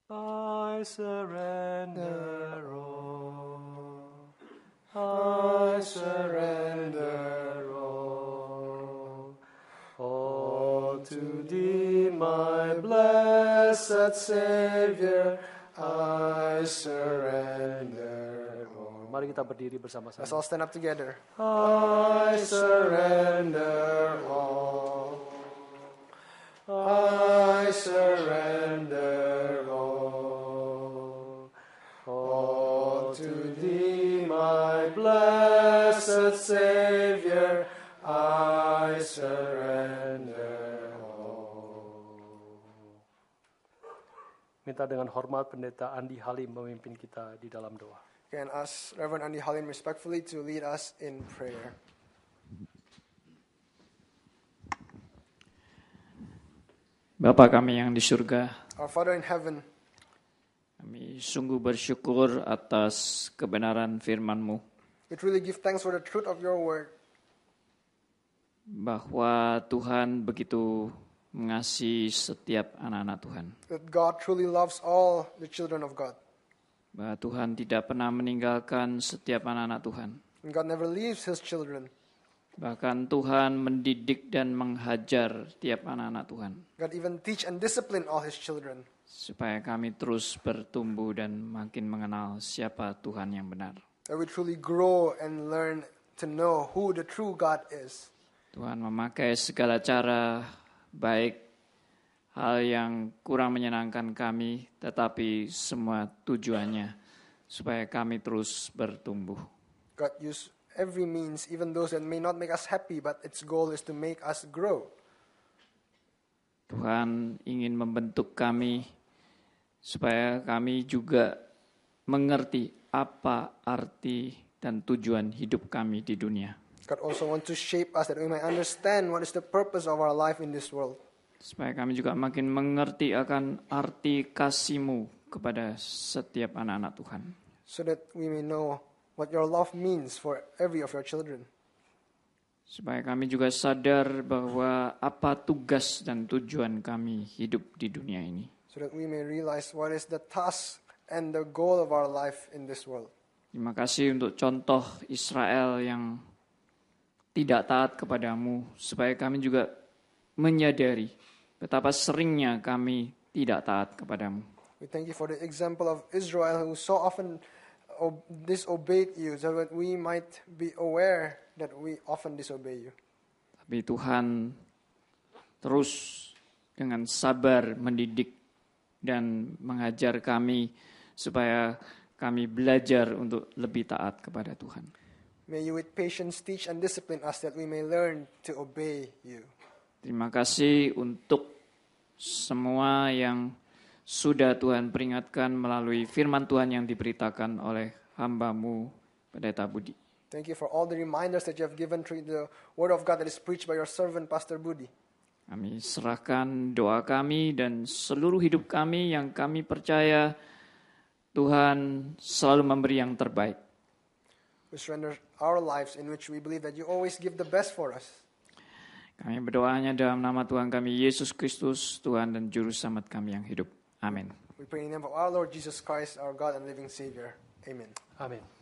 I surrender all. I surrender all. All to thee, my blessed Savior. I surrender all. Mari kita berdiri Let's bersama-sama. all stand up together. I surrender all. I surrender all. All to thee, my blessed Savior, I surrender all. Minta dengan hormat Pendeta Andi Halim memimpin kita di dalam doa. Can ask Reverend Andy Hallin respectfully to lead us in prayer. Bapa kami yang di surga, Our Father in heaven, kami sungguh bersyukur atas kebenaran firman-Mu we truly give thanks for the truth of your word. bahwa Tuhan begitu mengasihi setiap anak-anak Tuhan. that God truly loves all the children of God. Bahwa Tuhan tidak pernah meninggalkan setiap anak-anak Tuhan. And God never leaves his children. Bahkan Tuhan mendidik dan menghajar tiap anak-anak Tuhan God even teach and discipline all his children supaya kami terus bertumbuh dan makin mengenal siapa Tuhan yang benar. that we truly grow and learn to know who the true God is. Tuhan memakai segala cara baik hal yang kurang menyenangkan kami tetapi semua tujuannya supaya kami terus bertumbuh. God used every means, even those that may not make us happy, but its goal is to make us grow. Tuhan ingin membentuk kami supaya kami juga mengerti apa arti dan tujuan hidup kami di dunia. God also wants to shape us that we might understand what is the purpose of our life in this world. Supaya kami juga makin mengerti akan arti kasihmu kepada setiap anak-anak Tuhan. so that we may know what your love means for every of your children. Supaya kami juga sadar bahwa apa tugas dan tujuan kami hidup di dunia ini. So that we may realize what is the task and the goal of our life in this world. Terima kasih untuk contoh Israel yang tidak taat kepadamu, supaya kami juga menyadari betapa seringnya kami tidak taat kepadamu. We thank you for the example of Israel who so often ob- disobeyed you, so that we might be aware that we often disobey you. Tapi Tuhan terus dengan sabar mendidik dan mengajar kami supaya kami belajar untuk lebih taat kepada Tuhan. May you with patience teach and discipline us that we may learn to obey you. Terima kasih untuk semua yang sudah Tuhan peringatkan melalui firman Tuhan yang diberitakan oleh hambamu Pendeta Budi. Thank you for all the reminders that you have given through the word of God that is preached by your servant, Pastor Budi. Kami serahkan doa kami dan seluruh hidup kami yang kami percaya Tuhan selalu memberi yang terbaik. We surrender our lives in which we believe that you always give the best for us. Kami berdoanya dalam nama Tuhan kami Yesus Kristus, Tuhan dan Juru Selamat kami yang hidup. Amin. We pray in the name of our Lord Jesus Christ, our God and living Savior. Amen. Amin.